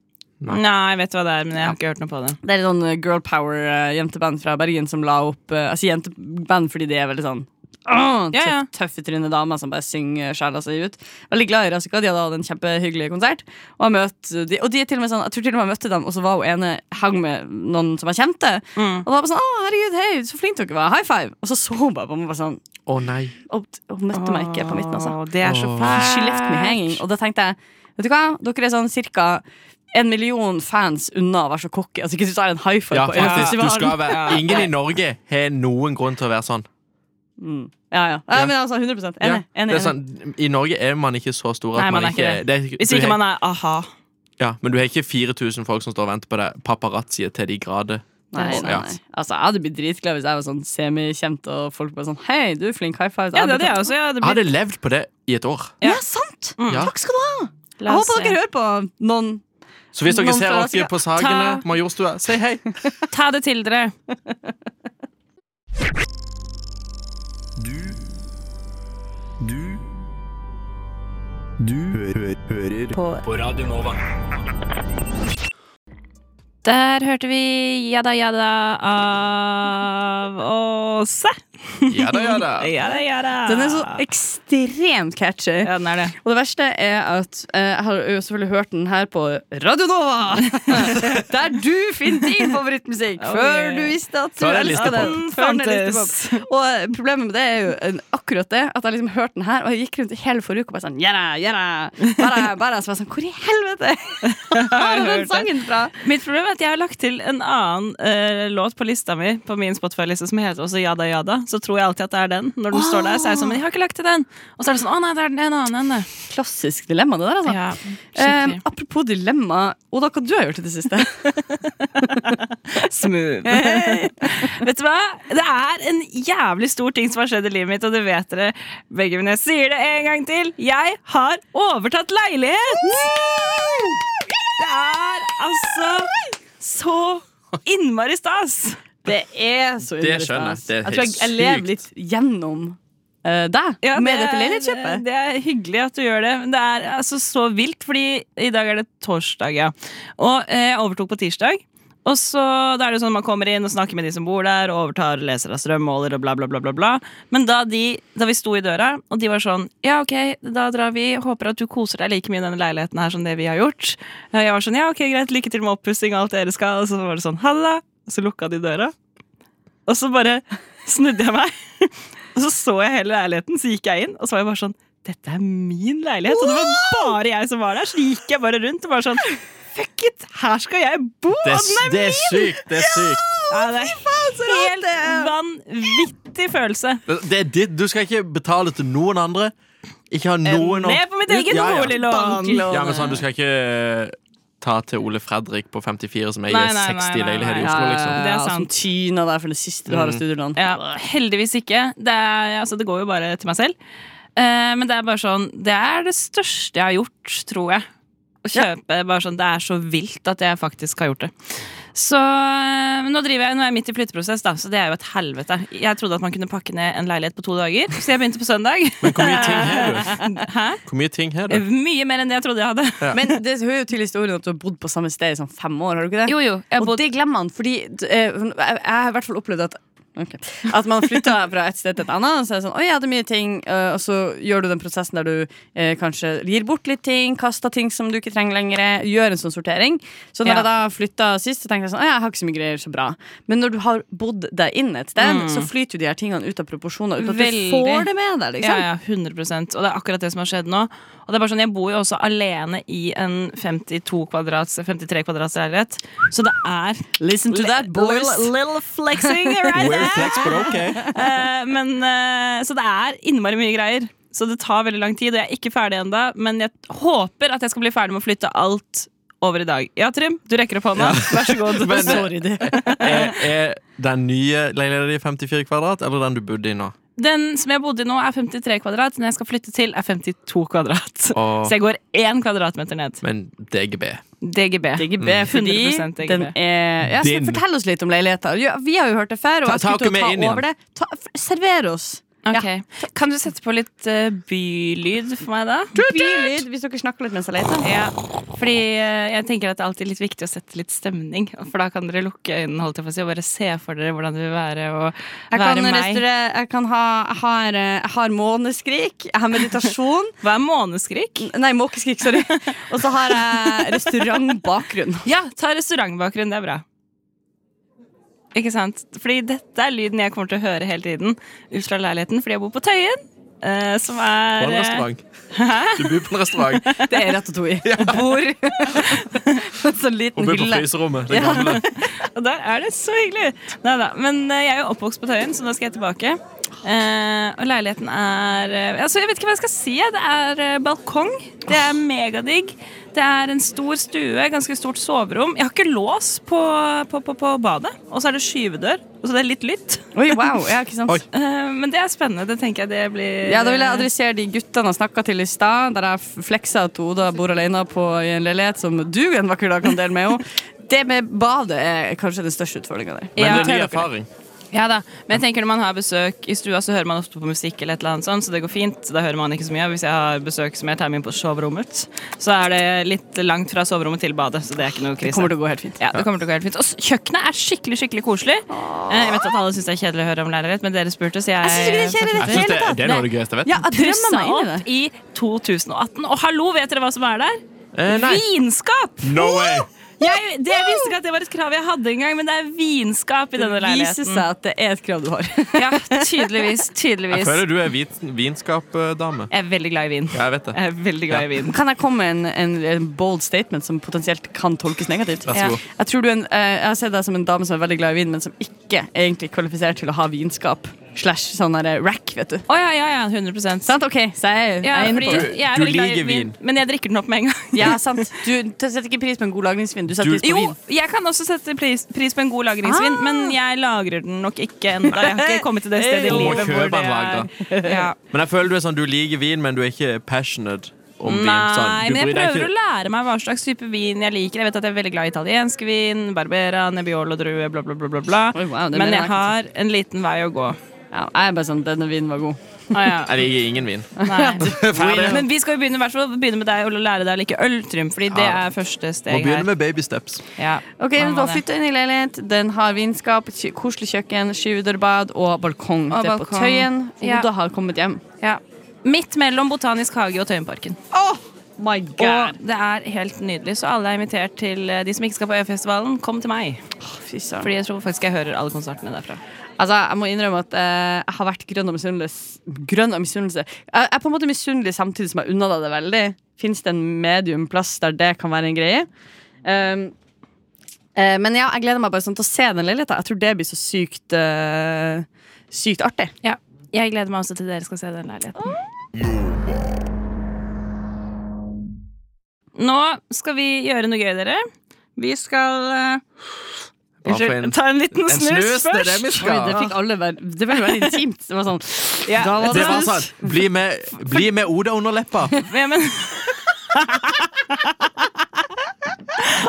Nei, jeg vet hva det er, men jeg har ikke hørt noe på det.
Det er et sånn girl power øh, jenteband fra Bergen som la opp øh, Altså jenteband fordi de er veldig sånn Åh,
Ah, Ja, ja.
tøff- Tøffe tryne damer som bare synger sjela si ut. Veldig glad i Rasika. De hadde hatt en kjempehyggelig konsert. Og jeg møtte de, og de er til og med sånn jeg tror til og med jeg møtte dem, og så var hun ene hang med noen som jeg kjente.
Mm.
Og da var jeg bare sånn Å, herregud, hei, så flink dere var. High five. Og så så hun bare på meg og bare sånn
Å nei.
og hun møtte meg ikke på midten, altså.
Åh, Det er så
Åh.
fælt.
She left me hanging. Og da tenkte jeg Vet du hva, dere er sånn cirka en million fans unna å være så cocky. Altså, ikke du tar en high five
Ja,
på Øya
faktisk. Du
Festivalen.
skal være Ingen i Norge har noen grunn til å være sånn.
Mm. Ja, ja. Nei,
Ja.
men altså, 100 enig.
Ja,
enig, enig.
det er sånn, I Norge er man ikke så stor at
Nei,
man,
man er
ikke
ikke
det.
Hvis
du
ikke
har-
man er aha.
ja, Men du har ikke 4000 folk som står og venter på deg. Paparazziet til de grader.
Nei, nei,
Ja.
nei. Altså, jeg hadde blitt dritglad hvis jeg var sånn semikjent og folk bare sånn Hei, du er flink, high five.
Ja, det hadde jeg også. Ja,
Jeg
det blir...
hadde levd på det i et år.
Ja,
Ja.
sant! sånn, Mm. Takk skal du ha!
La
Jeg
oss
håper
se.
dere hører på noen
Så hvis dere
Noen
ser
fra
oss
Asker-
på Sagene,
Ta-
Majorstua, si hei.
Ta det til dere.
Du Du Du hø hø hører på. Radio Nova.
Der hørte vi Jada Jada av Åse.
Ja da, ja da.
Jada Jada.
Den er så
Ah.
ekstremt catchy.
Ja, den er det.
Og det verste er at eh, jeg har jo selvfølgelig hørt den her på Radio Nova! der du finner din favorittmusikk!
Oh,
Før
yeah.
du visste at du
Før jeg
elska
listepop.
den.
Den
Før den er
fantes.
listepop. Og eh, problemet med det er jo en, akkurat det, at jeg liksom hørte den her, og jeg gikk rundt i hele forrige uke og bare sånn yeah, yeah, bare, bare, Så var jeg sånn Hvor i helvete har jeg
hørt
den
det.
sangen fra?
Mitt problem er at jeg har lagt til en annen eh, låt på lista mi, på min Spotify-liste, som heter også Jada Jada. Så tror jeg alltid at det er den. Når den står der, så er jeg sånn, men jeg har ikke lagt til den. Og så er det sånn, å nei, det er den en annen enn det.
Klassisk dilemma, det der, altså.
Ja,
Eh,
skikkelig.
apropos dilemma, Oda, hva du har gjort i det siste?
Smooth. vet du hva? Det er en jævlig stor ting som har skjedd i livet mitt, og det vet dere begge, men jeg sier det en gang til. Jeg har overtatt leilighet! Det er altså så innmari stas.
Det er så
Det
underlig
skjønner jeg.
stas.
Det er
jeg tror jeg, jeg lever
sykt.
litt gjennom eh, deg
Ja,
med
det
dette
er-
leilighetskjøpet.
Det er hyggelig at du gjør det. Men det er altså så vilt, fordi i dag er det torsdag, ja. Og eh, jeg overtok på tirsdag. Og så da er det jo sånn Man kommer inn og snakker med de som bor der, og overtar leser av strømmåler og bla, bla, bla. bla, bla. Men da, de, da vi sto i døra, og de var sånn Ja, ok, da drar vi. Håper at du koser deg like mye i denne leiligheten her som det vi har gjort. Eh, Jeg var sånn Ja, ok, greit. Lykke til med oppussing og alt dere skal. Og så var det sånn Ha det. da. Og så lukka de døra. Og så bare snudde jeg meg. Og så så jeg hele leiligheten, så gikk jeg inn, og så var jeg bare sånn Dette er min leilighet! Og det var bare jeg som var der. Så gikk jeg bare rundt og bare sånn Fuck it! Her skal jeg bo!
Det,
og den er
det er sykt. Det er sykt.
Ja, det er helt vanvittig følelse.
Det er ditt. Du skal ikke betale til noen andre. Ikke ha
Eh,
noen
Ned på mitt eget
Ja, ja.
boliglån.
Ja, men sånn, Du skal ikke eh, ta til Ole Fredrik på 54 som eier
Nei, nei, nei,
60
nei,
leiligheter i
nei.
Oslo,
Ja,
liksom. Mm.
Det er
Som
sant.
tyner deg for det siste du har av studielån.
Ja, heldigvis ikke. Det, er, altså, det går jo bare til meg selv. Eh, men det er bare sånn Det er det største jeg har gjort, tror jeg. Å kjøpe bare sånn Det er så vilt at jeg faktisk har gjort det. Så eh, nå driver jeg Nå er jeg midt i flytteprosess, da, så det er jo et helvete. Jeg trodde at man kunne pakke ned en leilighet på to dager, så jeg begynte på søndag.
Men hvor mye ting har du?
Hæ? Eh,
Hvor mye ting har du?
Mye mer enn det jeg trodde jeg hadde.
Men det hører jo til historien at du har bodd på samme sted i sånn fem år. har du ikke det?
Jo, jo. Jeg
og
bodde,
det glemmer man, fordi eh, jeg, jeg har i hvert fall opplevd at ok, At man flytter fra et sted til et annet, og så er det sånn, oi, jeg hadde mye ting eh, Og så gjør du den prosessen der du eh, kanskje gir bort litt ting, kaster ting som du ikke trenger lenger, gjør en sånn sortering. Så når
Ja.
jeg da flytta sist, så tenkte jeg sånn, å, jeg har ikke så mye greier, så bra. Men når du har bodd deg inn et sted, så flyter jo de her tingene ut av proporsjoner. Uten at du
Mm. Veldig.
får det med deg,
Ja,
liksom.
ja, 100 Og det er akkurat det som har skjedd nå. Og det er bare sånn, Jeg bor jo også alene i en 52 kvadrats, 53 kvadrats leilighet. Så det er
Listen to that, boys.
Little, little flexing right
We're
there.
flex, but ok.
Eh, men, eh, så det er innmari mye greier. Så det tar veldig lang tid, og jeg er ikke ferdig ennå. Men jeg håper at jeg skal bli ferdig med å flytte alt over i dag. Ja, eh, Trym, du rekker opp hånda. Vær så god.
Men-
Sorry, du.
Er, er den nye leiligheten din 54 kvadrat, eller den du bodde i nå?
Den som jeg bodde i nå, er 53 kvadrat. Den jeg skal flytte til, er 52 kvadrat.
Og,
Så jeg går én kvadratmeter ned.
men DGB.
DGB.
DGB, fordi
100% DGB.
den er ja, så
Din.
Fortell oss litt om leiligheter. Ja, Vi har jo hørt det før, og
Ta-
jeg skulle
ta
til
oss
å ta
med inn igjen.
over det. Ta, f server oss.
Ok. Kan du sette på litt eh, bylyd for meg, da?
Bylyd, hvis dere snakker litt mens jeg leter.
Ja, fordi eh, jeg tenker at det er alltid litt viktig å sette litt stemning. For da kan dere lukke øynene holdt jeg på å si, og bare se for dere hvordan det vil være å
Jeg kan,
være meg.
restaurere- jeg kan ha jeg har, eh, jeg har måneskrik, jeg har meditasjon
Hva er måneskrik?
Nei, måkeskrik, sorry. Og så har jeg restaurantbakgrunn.
Ja, ta restaurantbakgrunn. Det er bra. Ikke sant? Fordi dette er lyden jeg kommer til å høre hele tiden ut fra leiligheten, fordi jeg bor på Tøyen. eh, som
På
er
en
eh,
restaurant. Du bor på en restaurant
Det er ratatouille. Og bor en sånn
og
liten
bor på
hylle.
fryserommet. Det gamle.
Og der er det så hyggelig! Neida, Men eh, jeg er jo oppvokst på Tøyen, så nå skal jeg tilbake. Eh, og leiligheten er eh, altså Jeg vet ikke hva jeg skal si. jeg. Det er eh, balkong. Det er megadigg. Det er en stor stue, ganske stort soverom. Jeg har ikke lås på, på, på, på badet. Og så er det skyvedør. Og så det er litt lytt.
Oi, wow, ja, ikke sant?
Oi.
Eh, men det er spennende. Det tenker jeg det blir
Ja, Da vil jeg adressere de guttene jeg snakka til i stad, der jeg fleksa at Oda bor alene på, i en leilighet som du en vakker dag kan dele med henne. Det med badet er kanskje den største utfordringa der.
Men det
Ja.
er ny erfaring.
Ja da, men jeg tenker når man har besøk i stua, så hører man ofte på musikk eller et eller annet sånt, så det går fint. Da hører man ikke så mye. Hvis jeg har besøk som jeg tar med inn på soverommet, så er det litt langt fra soverommet til badet, så det er ikke noe krise.
Det kommer til å gå helt fint.
ja, det kommer til å gå helt fint. Og s- kjøkkenet er skikkelig skikkelig koselig. Eh, Jeg vet at alle syns det er kjedelig å høre om lærerrett, men dere spurte, så jeg
Jeg synes ikke det er kjedelig i det
Jeg synes det, det er noe av det gøyeste jeg vet.
Ja, jeg drømmer
Pussa
meg inn i det.
opp i 2018. Og hallo, vet dere hva som er der?
Eh, nei.
Vinskap!
No way!
Jeg, det, jeg visste ikke at det var et krav jeg hadde engang, men det er vinskap i denne
Det viser
leiligheten.
seg at det er et krav du har.
Ja, tydeligvis.
Jeg
Tydeligvis.
føler du er vit, vinskapdame.
Jeg er veldig glad i vin.
Ja, jeg vet det.
Jeg er veldig glad i vin.
Kan jeg komme med en, en, en bold statement som potensielt kan tolkes negativt?
Vær så god.
Jeg tror du er en, eh, jeg har sett deg som en dame som er veldig glad i vin, men som ikke er egentlig kvalifisert til å ha vinskap slash sånn der, eh, rack, vet du.
Å ja, ja, ja, 100
Sant? OK, så jeg, jeg
ja,
er inne
fordi
på det.
jeg er
Du
veldig glad i
liker vin.
Men jeg drikker den opp med en gang.
Ja, sant. Du t- setter ikke pris på en god lagringsvin. Du setter
Du-
pris på
Jo,
vin.
jeg kan også sette pris, pris på en god lagringsvin,
Ah.
men jeg lagrer den nok ikke ennå. Jeg har ikke kommet til det stedet i
Du må
livet hvor
kjøpe
det
en lager.
er ja.
Men jeg føler du er sånn, du liker vin, men du er ikke passionate om vin. Sånn,
Nei,
du
men jeg
bryr deg
prøver å
ikke-
lære meg hva slags type vin jeg liker. Jeg vet at jeg er veldig glad i italiensk vin, Barbera, Nebbiolo, drue, bla, bla, bla. bla, bla.
Oi, wow, det
men
mener jeg
jeg har en liten vei å gå.
Ja, jeg er bare sånn Denne vinen var god.
Ah, ja.
Jeg liker ingen vin.
Nei.
Ferdig.
Men vi skal jo begynne, i hvert fall begynne med deg og lære deg å like øl, Trym. Fordi det
Ja.
er første
Må
steg
begynne
her.
med baby steps.
Ja,
Ok,
man
men
må
da
det.
Flytta inn i leilighet. Den har vinskap, kj- koselig kjøkken, skyvedørbad og balkong.
Og
det er
balkong.
på Tøyen.
Ja.
Oda har kommet hjem.
Ja. Midt mellom Botanisk hage og Tøyenparken.
My
Og det er helt nydelig, så alle er invitert til eh, de som ikke skal på Øyafestivalen, kom til meg.
Fy søren.
Fordi jeg tror faktisk jeg hører alle konsertene derfra.
Altså, jeg må innrømme at eh, jeg har vært grønn og misunnelig. Grønn og misunnelse. Jeg jeg er på en måte misunnelig samtidig som jeg unna deg det veldig. Fins det en mediumplass der det kan være en greie? Um, Ehm, Eh, men ja, jeg gleder meg bare sånn til å se den leiligheten. Jeg tror det blir så sykt eh, Sykt artig.
Ja. Jeg gleder meg også til dere skal se den leiligheten. Nå skal vi gjøre noe gøy, dere. Vi skal eh,
Bare få
Unnskyld,
en-
ta en liten
en
snus,
snus, det er det vi
først.
skal.
Oi, det fikk alle være Det ble veldig intimt. Det var sånn
Ja,
Da var
Det
det
var sånn, Bli med, bli med Oda under leppa.
Men, men...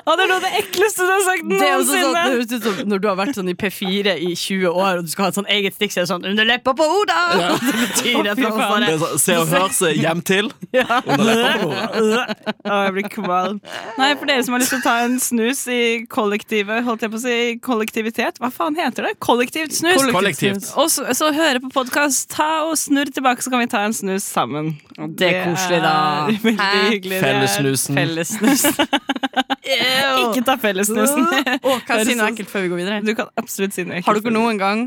Å, det er noe av det ekleste du har sagt
Det er også sånn,
noensinne!
det høres ut som når du har vært sånn i P4 i 20 år og du skal ha et sånn eget stikk, så er det sånn 'Under leppa på Oda!' Det betyr at
Fy
man
faen.
bare
Det er sånn, se og hør seg hjem til. Under leppa på Oda.
Å, jeg blir kvalm. Nei, for dere som har lyst til å ta en snus i kollektivet, holdt jeg på å si, kollektivitet, hva faen heter det? Kollektivt snus.
Kollektivt.
Og så, så høre på podkast, ta og snurr tilbake, så kan vi ta en snus sammen.
Det er koselig, da.
Det er veldig
Hæ?
hyggelig. Det er-
Fellesnusen.
Fellessnus.
Ikke ta fellesnusen.
Å, kan jeg si noe
Høres
ekkelt før vi går videre?
Du kan absolutt si noe. ekkelt.
Har dere noen gang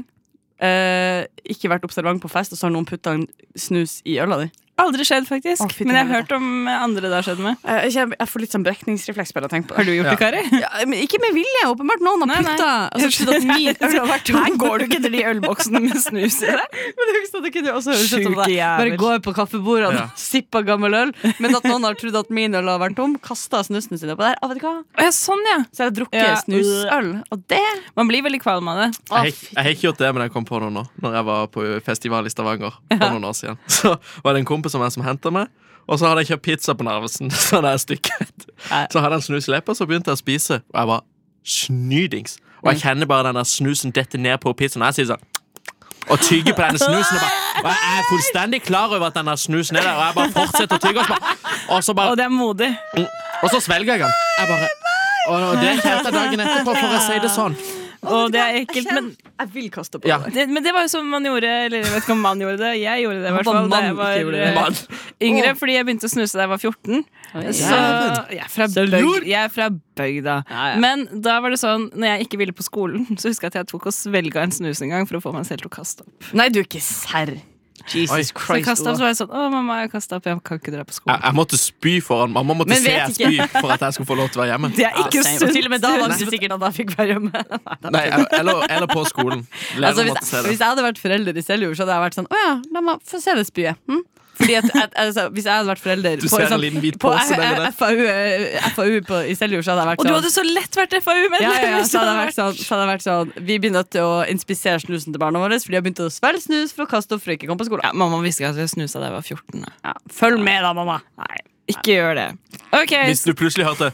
eh, ikke vært observant på fest, og så har noen putta en snus i øla di?
Aldri skjedd, faktisk.
Å, fy til
men jeg har hørt
helvete.
om andre det har skjedd med.
Eh, ikke- jeg får litt sånn brekningsrefleks bare av å tenke på
Har du gjort det,
Ja.
Kari?
Ja, men ikke med vilje, åpenbart. Noen har
Nei, nei.
putta altså, skjønner du at min øl har vært
Her går du ikke til de ølboksene med snus i deg.
Men det høyeste at det kunne også høres ut som
Sjuke
det bare
jævel.
går på
Ja.
kaffebordene og sipper gammel øl. Men at noen har trodd at min øl har vært tom, kasta snusen sin oppå der. Ah, vet du hva?
Ja, sånn, ja.
Så jeg har drukket
Ja.
snusøl, og det
Man blir veldig kvalm av det.
Jeg, har ikke- jeg har ikke gjort det, men jeg kom på det nå Når jeg var på festival i Stavanger For noen år siden Så var det en kompis som, som hentet meg Og så hadde jeg kjøpt pizza på Narvesen Så hadde jeg stykket
Nei.
Så hadde jeg en snus i leppa, så begynte jeg å spise Og jeg var snydings Og jeg kjenner bare den der snusen dette ned på pizzaen Og jeg sier sånn og tygge på denne snusen og, bare, og jeg er fullstendig klar over at denne snusen er der Og jeg bare fortsetter å tygge Og så, bare, og så, bare,
Og det er modig.
og så svelger jeg den Jeg bare og det kjente jeg dagen etterpå for å si det sånn
Og det er ekkelt, men
Jeg vil kaste på
Ja.
det.
det, men det var jo som man gjorde Eller jeg vet ikke om man gjorde det. Jeg gjorde det i hvert
Håper
fall da
mann
jeg
ikke
var
gjorde det.
eh,
Man.
yngre, fordi jeg begynte å snuse da jeg var 14. Så
Jævlen.
jeg er fra
lurt.
bøg- jeg er fra bygda. Men da var det sånn, når jeg ikke ville på skolen, så husker jeg at jeg tok og svelga en snus en gang for å få meg selv til å kaste opp.
Nei, du er ikke serr. Jesus
Oi.
Så jeg
Christ.
kastet opp,
Oda.
så var jeg sånn Å, mamma, jeg kasta opp, jeg kan ikke dra på
jeg,
skolen.
jeg måtte spy foran Mamma måtte
Men
se
vet
jeg spy
ikke.
for at jeg skulle få lov til å være hjemme.
Det er
Ja,
ikke
same.
sunt.
Og til og med da var det ikke sikkert at jeg fikk være hjemme.
Nei, eller, eller på skolen. Læreren
Altså, hvis,
måtte se
hvis
det.
jeg hadde vært forelder i Seljord, så hadde jeg vært sånn Å ja, la meg få se det spyet. Hm? Fordi at, at, altså, hvis jeg hadde vært forelder
Du
på,
ser en
sånn-
liten hvit
på
pose
eh,
mellom der.
FAU, eh, FAU på, i Seljord, så hadde jeg vært
Og du
sånn
hadde så lett vært FAU-medlem!
ja, ja, ja,
hvis
så hadde
du
jeg vært sånn, så hadde jeg vært sånn Vi blir nødt til å inspisere snusen til barna våre, for de har begynt å svelge snus for å kaste opp for å ikke komme på skolen.
Ja, mamma visste ikke at jeg snusa da jeg var 14. da.
Ja, Følg med, da, mamma.
Ikke gjør det. Ok,
Hvis du plutselig hørte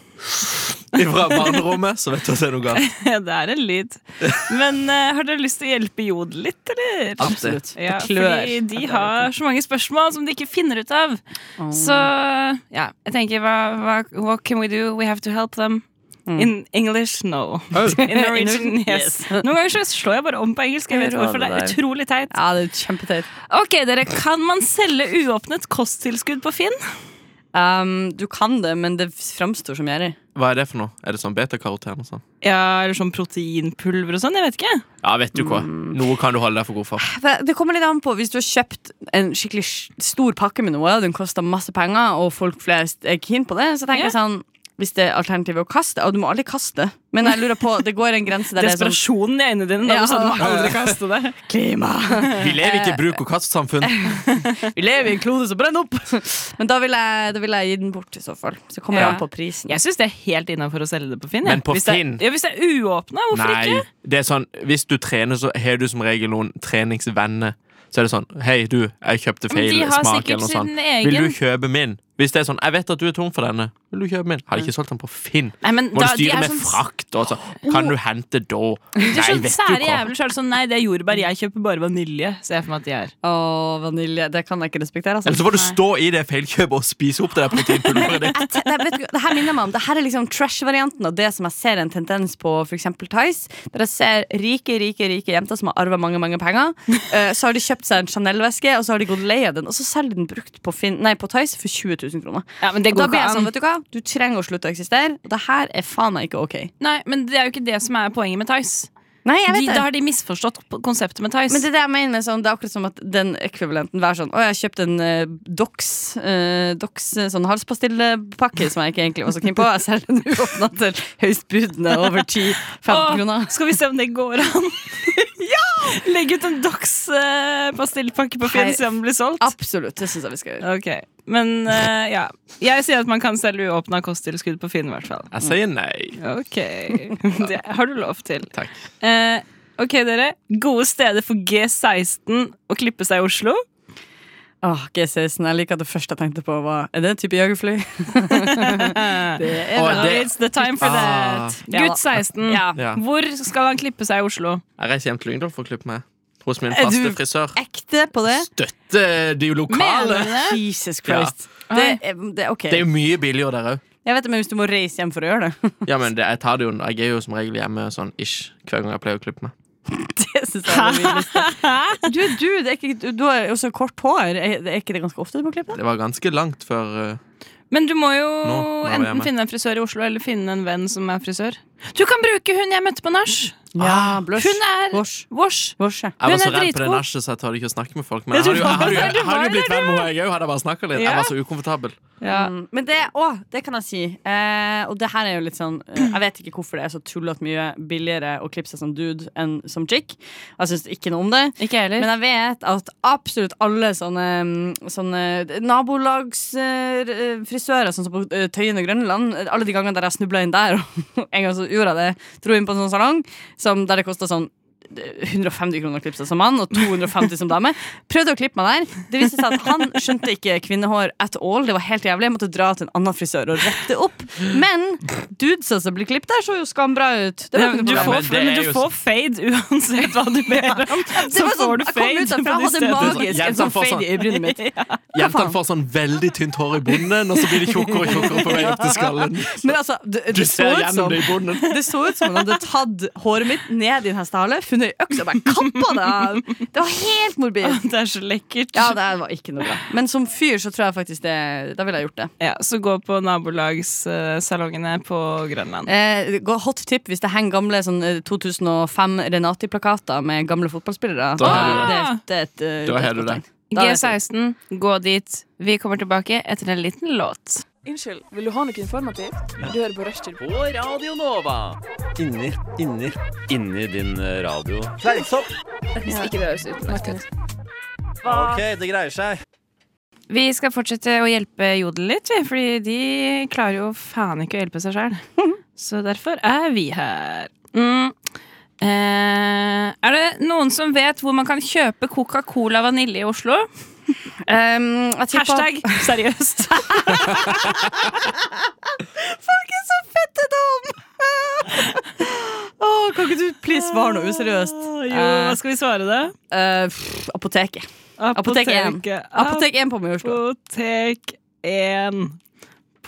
fra barnerommet, så vet du at det er noe galt.
Det er en lyd. Men eh, har dere lyst til å hjelpe Jodel litt, eller?
Absolutt.
Ja,
Det klør.
fordi de har så mange spørsmål som de ikke finner ut av. Så ja, jeg tenker hva, hva What can we do? We have to help them. In English, no. Mm.
Oh.
In Norwegian,
Norwegian,
yes. Noen ganger så slår jeg bare om på engelsk. Jeg vet ikke hvorfor det er utrolig teit.
Ja, det er kjempeteit.
Ok, dere, Kan man selge uåpnet kosttilskudd på Finn?
Um, du kan det, men det framstår som gjerrig.
Hva er det for noe? Er det sånn betakaroten og sånn?
Ja, Eller sånn proteinpulver og sånn? Jeg vet ikke.
Ja, vet du hva. Mm. Noe kan du holde deg for god for.
Det kommer litt an på hvis du har kjøpt en skikkelig s- stor pakke med noe, og den koster masse penger, og folk flest er keen på det, så tenker jeg sånn Hvis det er alternativet å kaste Og du må aldri kaste, men jeg lurer på Det går en grense der det er sånn
Desperasjonen i øynene dine da
Ja.
du sa du må aldri kaste det.
Klima!
Vi lever ikke i bruk- og kastsamfunn.
Vi lever i en klode som brenner opp! Men da vil jeg, da vil jeg gi den bort, i så fall. Så kommer det
Ja.
an på prisen.
Jeg syns det er helt innafor å selge det på Finn. jeg.
Men på
hvis, det er,
Finn?
ja, hvis det er uåpna, hvorfor
Nei.
ikke?
Det er sånn, hvis du trener, så har du som regel noen treningsvenner. Så er det sånn Hei, du, jeg kjøpte
Men
feil
de har
smak.
sikkert
eller noe sånt.
sin egen.
Vil du kjøpe min? Hvis det er sånn Jeg vet at du er tom for denne. Vil du kjøpe min? Har de ikke solgt den på Finn?
Mm. Nei, men
Må
da-
du
de er
styre med
sånn-
frakt og sånn. Kan du hente da?
Det er
Nei,
sånn
vet du
sære
hva.
jævler så er det sånn Nei, det er jordbær. Jeg kjøper bare vanilje. Ser jeg for meg at de er.
Å, vanilje. Det kan jeg ikke respektere. altså.
Eller så får du stå i det feilkjøpet og spise opp det der proteinpulveret ditt.
Te- Nei, vet du, hva, det her minner meg om Det her er liksom trash-varianten av det som jeg ser en tendens på f.eks. Tice. Der jeg ser rike rike, rike jenter som har arva mange mange penger. Eh, så har de kjøpt seg en Chanel-veske, og så har de gått lei av den. Og så selger de den brukt på, Finn, nei, på Tice for 20 000 kroner.
Ja, men det
Og da
går
blir
ikke
jeg sånn,
an.
vet du hva, du trenger å slutte å eksistere. Og det her er faen meg ikke ok.
Nei, men det er jo ikke det som er poenget med Tice.
Nei, jeg
De,
vet
da
det.
har de misforstått p- konseptet med Tice.
Men det er det jeg mener med sånn, det er akkurat som at den ekvivalenten Vær sånn, å jeg kjøpte en eh, Dox eh, Dox eh, sånn halspastillepakke Som jeg ikke egentlig var så keen på Jeg selger den uåpna til høyst budene over 10-15 kroner
Skal vi se om det går an? Legg ut en Dox-pastillpakke på Finn,
Hei.
se om den blir solgt.
Absolutt, det synes jeg vi skal gjøre
Ok, Men eh, ja. Jeg sier at man kan selge uåpna kosttilskudd på Finn, i hvert fall.
Jeg sier nei.
Ok, Det har du lov til.
Takk.
Eh, ok, dere. Gode steder for G16 å klippe seg i Oslo.
Åh, G16, jeg liker at det første jeg tenkte på var Er det en type jagerfly? det er
Og
vel
det-
It's the time for
Ah.
that. Gutt 16.
Ja.
Ja.
Hvor skal han klippe seg i Oslo?
Jeg reiser hjem til Lyngdal for å klippe meg. Hos min
Er du-
faste frisør.
ekte på det
Støtte de lokale!
Jesus Christ det, er, mm, det er ok
Det er jo mye billigere der òg.
Jeg vet det, men hvis du må reise hjem for å gjøre det
Ja, men det, jeg tar det jo Jeg er jo som regel hjemme sånn ish hver gang jeg pleier å klippe meg.
Det synes jeg er det vildeste Du er du, det er ikke, du, du har jo så kort hår Er er ikke det ganske ofte du må klippe?
Det var ganske langt før eh,
Men du må jo
Nå, nå er vi
enten
hjemme.
finne en frisør i Oslo eller finne en venn som er frisør. Du kan bruke hun jeg møtte på nach!
Ja, Ah, blush.
Hun er
Vårs.
Vosh.
Vårs, ja.
Jeg
Hun
var så
er
redd på det
dritgod.
nachet, så jeg torde ikke å snakke med folk. Men
Ja,
jeg hadde
du
jo, jeg
var
hadde jo,
der, du
jeg hadde
var
jo blitt venn med henne, jeg òg, hadde jeg bare snakka litt.
Ja.
Jeg var så ukomfortabel.
Ja.
Mm, Men det, å, det kan jeg si. Eh, og det her er jo litt sånn eh, Jeg vet ikke hvorfor det er så tullete mye billigere å klippe seg som dude enn som chick. Jeg syns ikke noe om det.
Ikke jeg
Men
heller.
jeg vet at absolutt alle sånne, mm, sånne nabolagsfrisører, sånn som på eh, Tøyen og Grønland eh, Alle de gangene der jeg snubla inn der, og en gang så gjorde jeg det, dro inn på en sånn salong som, der det kosta sånn eh, 150 kroner å klippe seg som mann og 250 som dame. Prøvde å klippe meg der. Det viste seg at han skjønte ikke kvinnehår at all. Det var helt jævlig. Jeg måtte dra til en annen frisør og rette opp. Men dudesa som ble klippet der, så jo skambra ut. Det var ikke
Du
noe
Ja,
får,
men
problem.
det
men
er
du
jo-
får fade uansett hva du ber om.
Det
Så
var
får
sånn,
du
jeg kom
fade
ut derfra,
fra de
jeg hadde
stedene.
magisk en
Jentene
sånn
får
fade i øyebrynet mitt.
Jentene får sånn veldig tynt hår i bunnen, og så blir de tjukkere og tjukkere på vei opp til skallen.
Men altså, det,
Du
det,
ser
så ut som,
gjennom det i bunnen.
det så ut som han hadde tatt håret mitt ned i en hestehale, funnet ei øks og bare kappa det av. Det var helt morbid.
Det er så lekkert.
Ja, det var ikke noe bra. Men som fyr så tror jeg faktisk det Da ville jeg gjort det.
Ja, så gå på nabolagssalongene på Grønland.
Eh, gå- hot tip hvis det henger gamle sånn eh, 2005 Renati-plakater med gamle fotballspillere.
Da har
du
det,
det.
det, er et, eh,
Da har du
godt
det.
tegn. Da er det.
G16, gå dit. Vi kommer tilbake etter en liten låt.
Unnskyld, vil du ha noe informativt? Du hører på Rushtid.
Inni, inni, inni din eh, radio.
Hvis ikke det høres utenlandsk ut.
Ok, det greier seg.
Vi skal fortsette å hjelpe Jodel litt, vi, fordi de klarer jo faen ikke å hjelpe seg sjøl. Så derfor er vi her. Mm. Eh, er det noen som vet hvor man kan kjøpe Coca-Cola vanilje i Oslo?
Um, jeg tipper-
Hashtag seriøst.
Åh, kan ikke du please svare noe useriøst?
Ah, Jo, hva skal vi svare det?
Eh, pff, apoteket. Apotek 1. Apotek 1 på meg i Oslo.
Apotek 1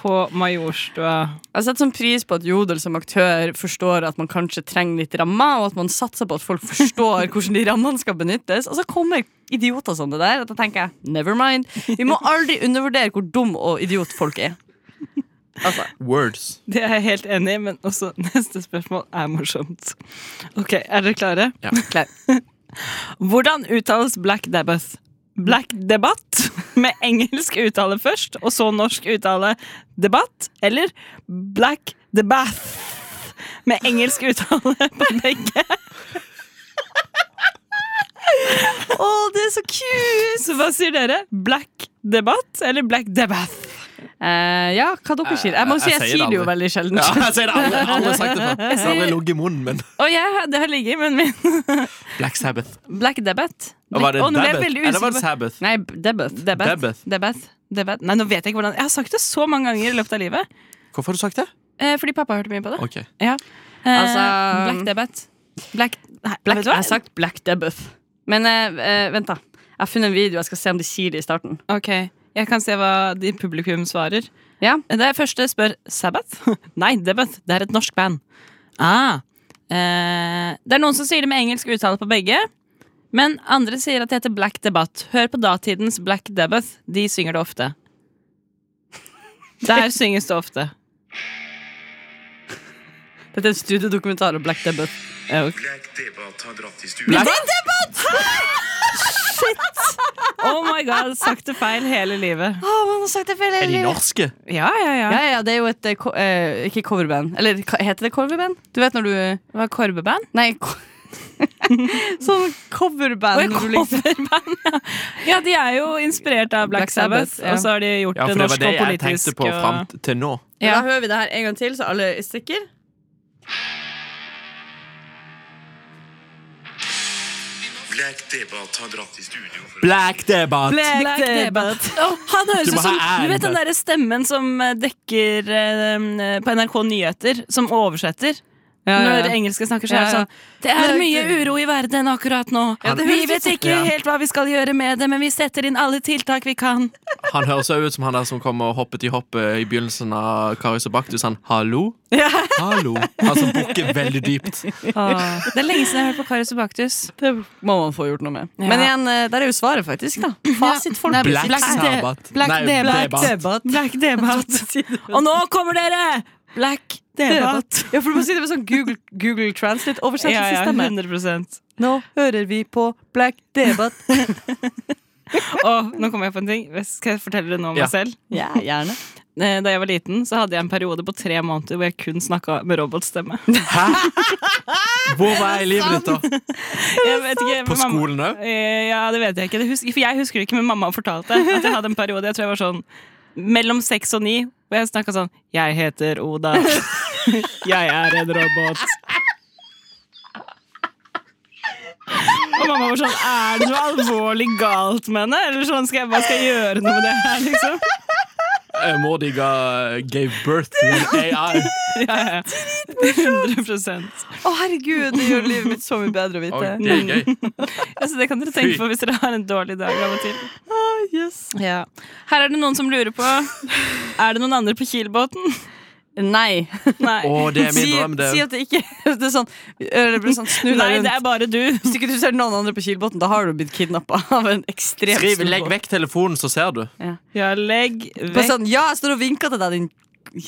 på Majorstua.
Jeg setter sånn pris på at Jodel som aktør forstår at man kanskje trenger litt rammer, og at man satser på at folk forstår hvordan de rammene skal benyttes. Og så kommer idioter som det der, og da tenker jeg never mind. Vi må aldri undervurdere hvor dum og idiot folk er. Altså,
Words.
Det er jeg helt enig i, men også neste spørsmål er morsomt. Ok, er dere klare?
Ja.
Klar.
Hvordan uttales Black Dabbath? Black Debatt med engelsk uttale først, og så norsk uttale debatt, eller Black Debath med engelsk uttale på begge. Å, det er så cute! Så hva sier dere? Black Debatt eller Black Debath?
eh, ja, hva dere sier? Jeg må si
Eh, Jeg- jeg
jeg
sier det
sier det jo
aldri.
veldig sjelden.
Ja, jeg sier det aldri, jeg har aldri sagt det før. Jeg har aldri ligget i munnen, men
Å, jeg- det har ligget, men min
Black Sabbath.
Black Debath.
Og var det
Å, nå ble jeg
Dabbath?
veldig
Eller var
usikker.
det Sabbath?
Nei, Debbeth.
Dabbath.
Debath. Debath. Nei, nå vet jeg ikke hvordan Jeg har sagt det så mange ganger i løpet av livet.
Hvorfor har du sagt det?
Eh, fordi pappa hørte mye på det.
Ok.
Ja. Eh,
Altså-
Black Debath. Black, nei,
Black,
vet
jeg
du hva?
har sagt Black Debbeth. Men eh, eh, vent, da. Jeg har funnet en video. Jeg skal se om de sier det i starten.
Ok, jeg kan se hva de publikum svarer.
Ja.
Det første eh, spør Sabbath. Nei, Debath. Det er et norsk band. Ah. Eh, det er noen som sier det med engelsk uttale på begge. Men andre sier at det heter Black Debatt. Hør på datidens Black Debath. De synger det ofte. Der synges det ofte.
Dette er en studiedokumentar om Black Debbeth. er jo
Lekdebatt har dratt i
Nei.
studio.
Oh my god, sagt det feil hele livet.
Er de norske?
Ja, ja, ja.
Ja, ja, det er jo et eh, ko eh, Ikke coverband. Eller hva- heter det coverband? Du vet når du
Det var korbeband.
Nei. ko- sånn coverband.
Oi,
når du liksom-
coverband, ja. ja, de er jo inspirert av Black,
Black
Sabbath,
Sabbath, ja.
og så har de gjort
Ja,
det
for det var
norsk
det
og
jeg
politisk.
tenkte på
og-
fram t- til nå.
Da hører vi det her en gang til, så alle er sikre.
Lekdebatt har dratt i studio. For
Black debatt!
Black Debate. Åh, han høres
Du
ut
må
som
ha æren
Du vet den
for-
derre stemmen som eh, dekker eh, på NRK Nyheter, som oversetter?
ja, ja.
Når engelske snakker, så er det
Ja, ja.
sånn Det er
Black
mye
Debate.
uro i verden akkurat nå.
Ja, det
vi
høres ut
vet
som-
ikke
Ja.
helt hva vi skal gjøre med det, men vi setter inn alle tiltak vi kan.
Han høres også ut som han der som kom og hoppet i hoppet i begynnelsen av Karius og Baktus. Han 'hallo', hallo. Altså, Han som bukker veldig dypt.
Det er lenge siden jeg har hørt på Karius og Baktus.
Det må man få gjort noe med.
Ja.
Men igjen, eh, der er jo svaret, faktisk. da Fasit, folk.
Black Sabbath.
Black
Nei,
Debatt.
Debatt.
Black Debatt.
Og nå kommer dere! Black Debatt.
Ja, for du må si det med sånn Google, Google Translate-oversettelsesstemme.
100
Nå hører vi på Black Debatt.
Åh, nå kommer jeg på en ting. Skal jeg fortelle det nå om meg
Ja.
selv?
Ja, gjerne.
Eh, Da jeg var liten, så hadde jeg en periode på tre måneder hvor jeg kun snakka med robotstemme.
Hæ? Hvor var jeg i livet ditt, da?
Jeg vet ikke,
På
men mamma-
skolen òg?
Eh, Ja, det vet jeg ikke. Det hus for jeg husker det ikke, men mamma fortalte at jeg hadde en periode jeg tror jeg var sånn mellom seks og ni, hvor jeg snakka sånn Jeg heter Oda. Jeg er en robot. Og mamma var sånn Er det noe alvorlig galt med henne? Eller sånn, skal jeg, hva skal jeg gjøre noe med det her, liksom?
Eh, Mor di ga eh, gave birth to an AI.
Ja, ja. 100
Å, herregud, det gjør livet mitt så mye bedre å
Oi,
vite.
det er gøy.
Altså, det kan dere tenke på hvis dere har en dårlig dag av og til. Ja. Her er det noen som lurer på Er det noen andre på Kielbåten.
Nei.
Nei.
Å, det er min
Si,
drøm, det.
si at det ikke det er sånn, eller det blir sånn Snu deg
Nei, det
rundt.
er bare du.
Hvis ikke du ser noen andre på Kilbotn, da har du blitt kidnappa av en ekstrem
Skriv,
snowboard.
legg vekk telefonen, så ser du.
Ja, legg
Bare
vekk
sånn Ja, jeg står og vinker til deg, din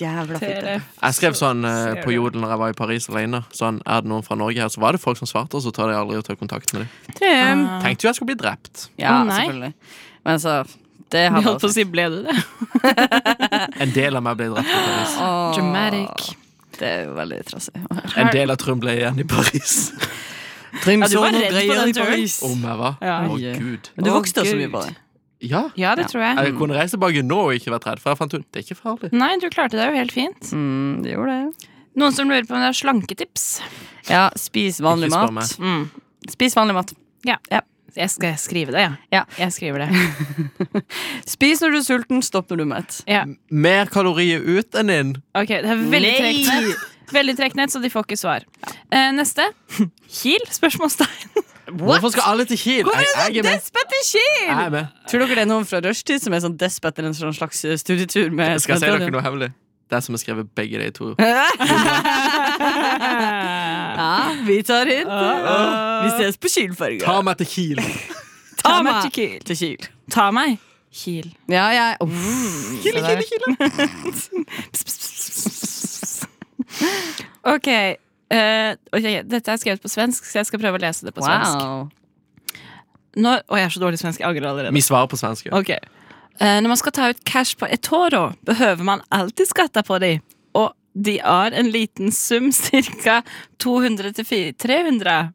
jævla fitte.
tele.
Jeg skrev sånn eh,
ser
på
du.
Jodel når jeg var i Paris alene. Sånn, er det noen fra Norge her? Så var det folk som svarte, og så tar de aldri og tar kontakt med dem. Tenkte jo jeg skulle bli drept.
Ja,
Å, nei.
selvfølgelig. Men altså Det
Jeg
har
holdt på å si ble du det?
En del av meg ble drept i Paris.
Åh,
Dramatic.
Det er jo veldig trassig. å høre.
En del av Trym ble igjen i Paris.
Ja,
du var redd for den turen.
Om jeg var. Å,
Ja.
gud.
Men du
Å,
vokste også mye
Gud.
på det.
Ja.
Ja, det tror jeg.
Jeg kunne reist tilbake nå og ikke vært redd, for jeg fant ut det er ikke farlig.
Nei, du klarte deg jo helt fint.
Mm, det gjorde det.
Noen som lurer på om det er slanketips?
Ja, spis vanlig
Ikke spør
mat. Mm. Spis vanlig mat.
Jeg skal skrive det, jeg.
Ja.
Jeg skriver det.
Spis når du er sulten, stopp når du er mett.
Mer kalorier ut enn inn.
Ok, det er veldig
Nei!
trekt nett. Veldig trekt nett, så de får ikke svar. Eh, neste. Kiel? Spørsmålstegn.
Hvorfor skal alle til Kiel? Jeg, jeg er med.
Despet i Kiel!
Jeg er med.
Tror dere det er noen fra rushtid som er sånn desp etter en sånn slags studietur? Med
Skal jeg si dere
studentradioen?
noe hemmelig? Det er som jeg skrev begge de to.
Ja, vi tar hint. Vi ses på Kiel-ferga.
Ta meg til Kiel.
Ta Ah. meg til Kiel.
til Kiel.
Ta meg. Kiel.
Ja, jeg oh, se der.
Ok. eh, ok, Dette er skrevet på svensk, så jeg skal prøve å lese det på svensk.
Wow.
Når, å, jeg er så dårlig i svensk. Jeg angrer allerede.
Vi svarer på svensk.
Mm.
ja.
Ok. Eh, når man skal ta ut cash på et år, da, behøver man alltid skatte på de. Og de har en liten sum, ca. 200-300.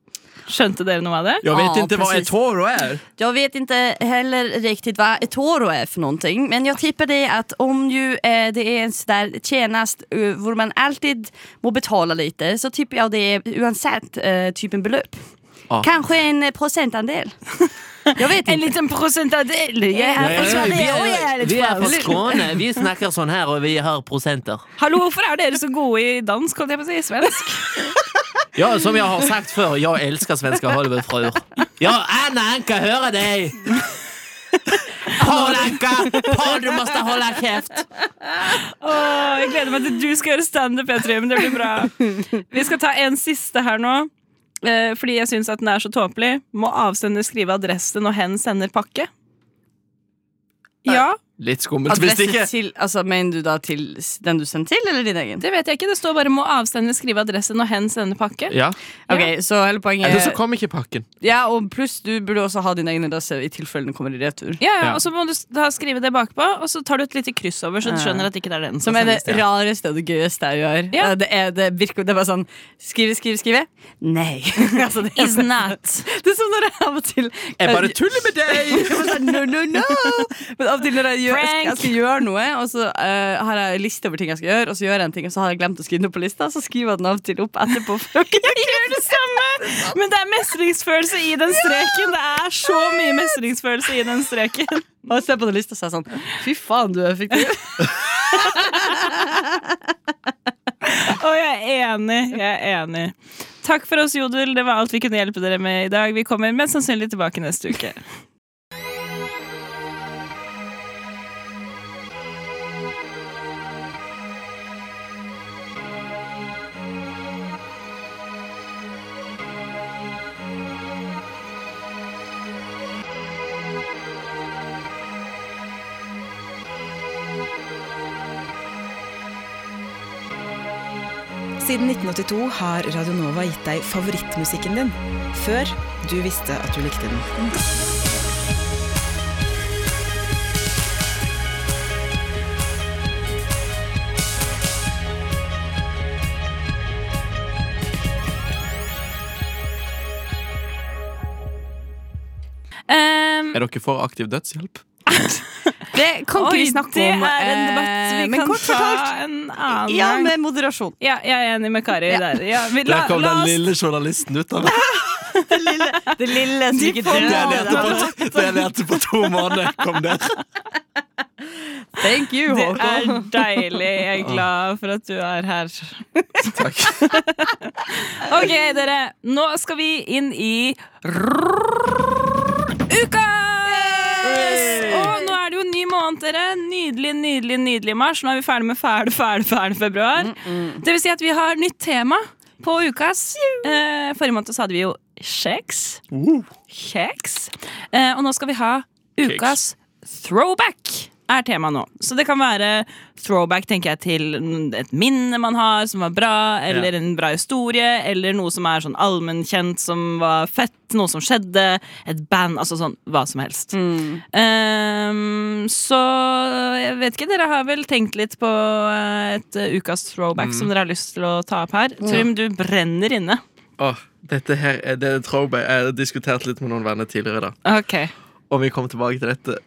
Skjønte dere noe av det?
Jeg vet
Ja,
ikke hva
precis.
et toro er.
Jag vet inte heller riktigt vad ett toro är för någonting men jag tippar det att om ju, eh, det är en sån där tjänst eh, hvor man alltid må betala lite så tippar jag det är oavsett eh, typen belopp.
Ja.
Kanske en eh, procentandel. jag vet
En
inte.
liten prosentandel! Jeg er
Ja,
fra
ja, ja.
Sverige, og jeg er litt fransk.
Skåne. Vi snakker sånn her, og vi har prosenter.
Hallo, hvorfor er dere så gode i dansk, holdt jeg på å si? Svensk?
Ja, som jeg har sagt før, jeg elsker svenske Hollywood-fruer. Ja, Anna Anka, hører deg! Hold Anka! Hold, du måste holde kjeft!
Åh, jeg gleder meg til du skal gjøre standup, jeg tror. Men det blir bra. Vi skal ta en siste her nå. eh, Fordi jeg syns at den er så tåpelig. Må avsender skrive adressen og hen sender pakke? Ja.
Litt skummelt hvis
Adresse
ikke.
til Altså, mener du da til s- den du sendte til, eller din egen?
Det vet jeg ikke. Det står bare 'må avsender skrive adressen og hen sende pakke'.
Ja.
Ok, så hele poenget
Eller så kom ikke pakken.
Ja, og pluss du burde også ha din egen adresse i tilfelle den kommer i retur.
Ja, ja,
Ja.
Og så må du s- da skrive det bakpå, og så tar du et lite kryss over, så du skjønner at ikke det er den.
Som er det
sendes til.
rareste og det gøyeste jeg gjør.
Ja.
Eh, Det, er, det, virker, det er bare sånn Skrive, skrive, skrive. Nei. altså, det,
Is
er,
not.
det er sånn når jeg av og til
Jeg bare tuller med
Jeg
deg!
bare sånn, no, no, no. Men av og til når jeg, gjør,
Prank.
jeg skal gjøre noe, og så eh, har jeg en liste over ting jeg skal gjøre, og så gjør jeg en ting, og så har jeg glemt å skrive noe på lista, så skriver jeg den av og til opp etterpå. For å-
Gjør det samme! Men det er mestringsfølelse i den streken. Det er så mye mestringsfølelse i den streken.
og jeg ser på den lista, og så er jeg sånn Fy faen, du er effektiv.
Og jeg er enig. Jeg er enig. Takk for oss, Jodel. Det var alt vi kunne hjelpe dere med i dag. Vi kommer mest sannsynlig tilbake neste uke.
Siden 1982 har Radio Nova gitt deg favorittmusikken din, før du visste at du likte den.
Um,
Er dere for aktiv dødshjelp?
Ehm, Det kan ikke
oi,
vi snakke
det
om.
er en debatt
eh,
vi
men
kan
kort
ta
fortalt,
en annen
ja,
gang.
med moderasjon.
Ja, jeg er enig med Kari der. Ja, vi, la,
Der kom
la
den
oss
lille journalisten ut av det.
Det lille som ikke
Det jeg
dør.
lærte på, det jeg lærte på to måneder, kom der.
Thank you,
Det
Håkon.
er deilig. Jeg er glad for at du er her.
Takk.
Ok, dere. Nå skal vi inn i Ukas! Og nå er det jo en ny måned, dere. Nydelig, nydelig, nydelig mars. Nå er vi ferdig med fæle, fæle, fæle februar. Det vil si at vi har nytt tema på Ukas. Eh, forrige måned så hadde vi jo kjeks. Kjeks. Eh, og nå skal vi ha Ukas throwback er tema nå. Så det kan være throwback tenker jeg, til n- et minne man har som var bra, eller en bra historie, eller noe som er sånn allmennkjent som var fett, noe som skjedde, et band, altså sånn hva som helst. Ehm, så jeg vet ikke, dere har vel tenkt litt på eh, et eh, ukas throwback som dere har lyst til å ta opp her. Trym, du brenner inne.
Åh, dette her er, det er throwback. Jeg har diskutert litt med noen venner tidligere i dag.
Ok.
Og vi kommer tilbake til dette.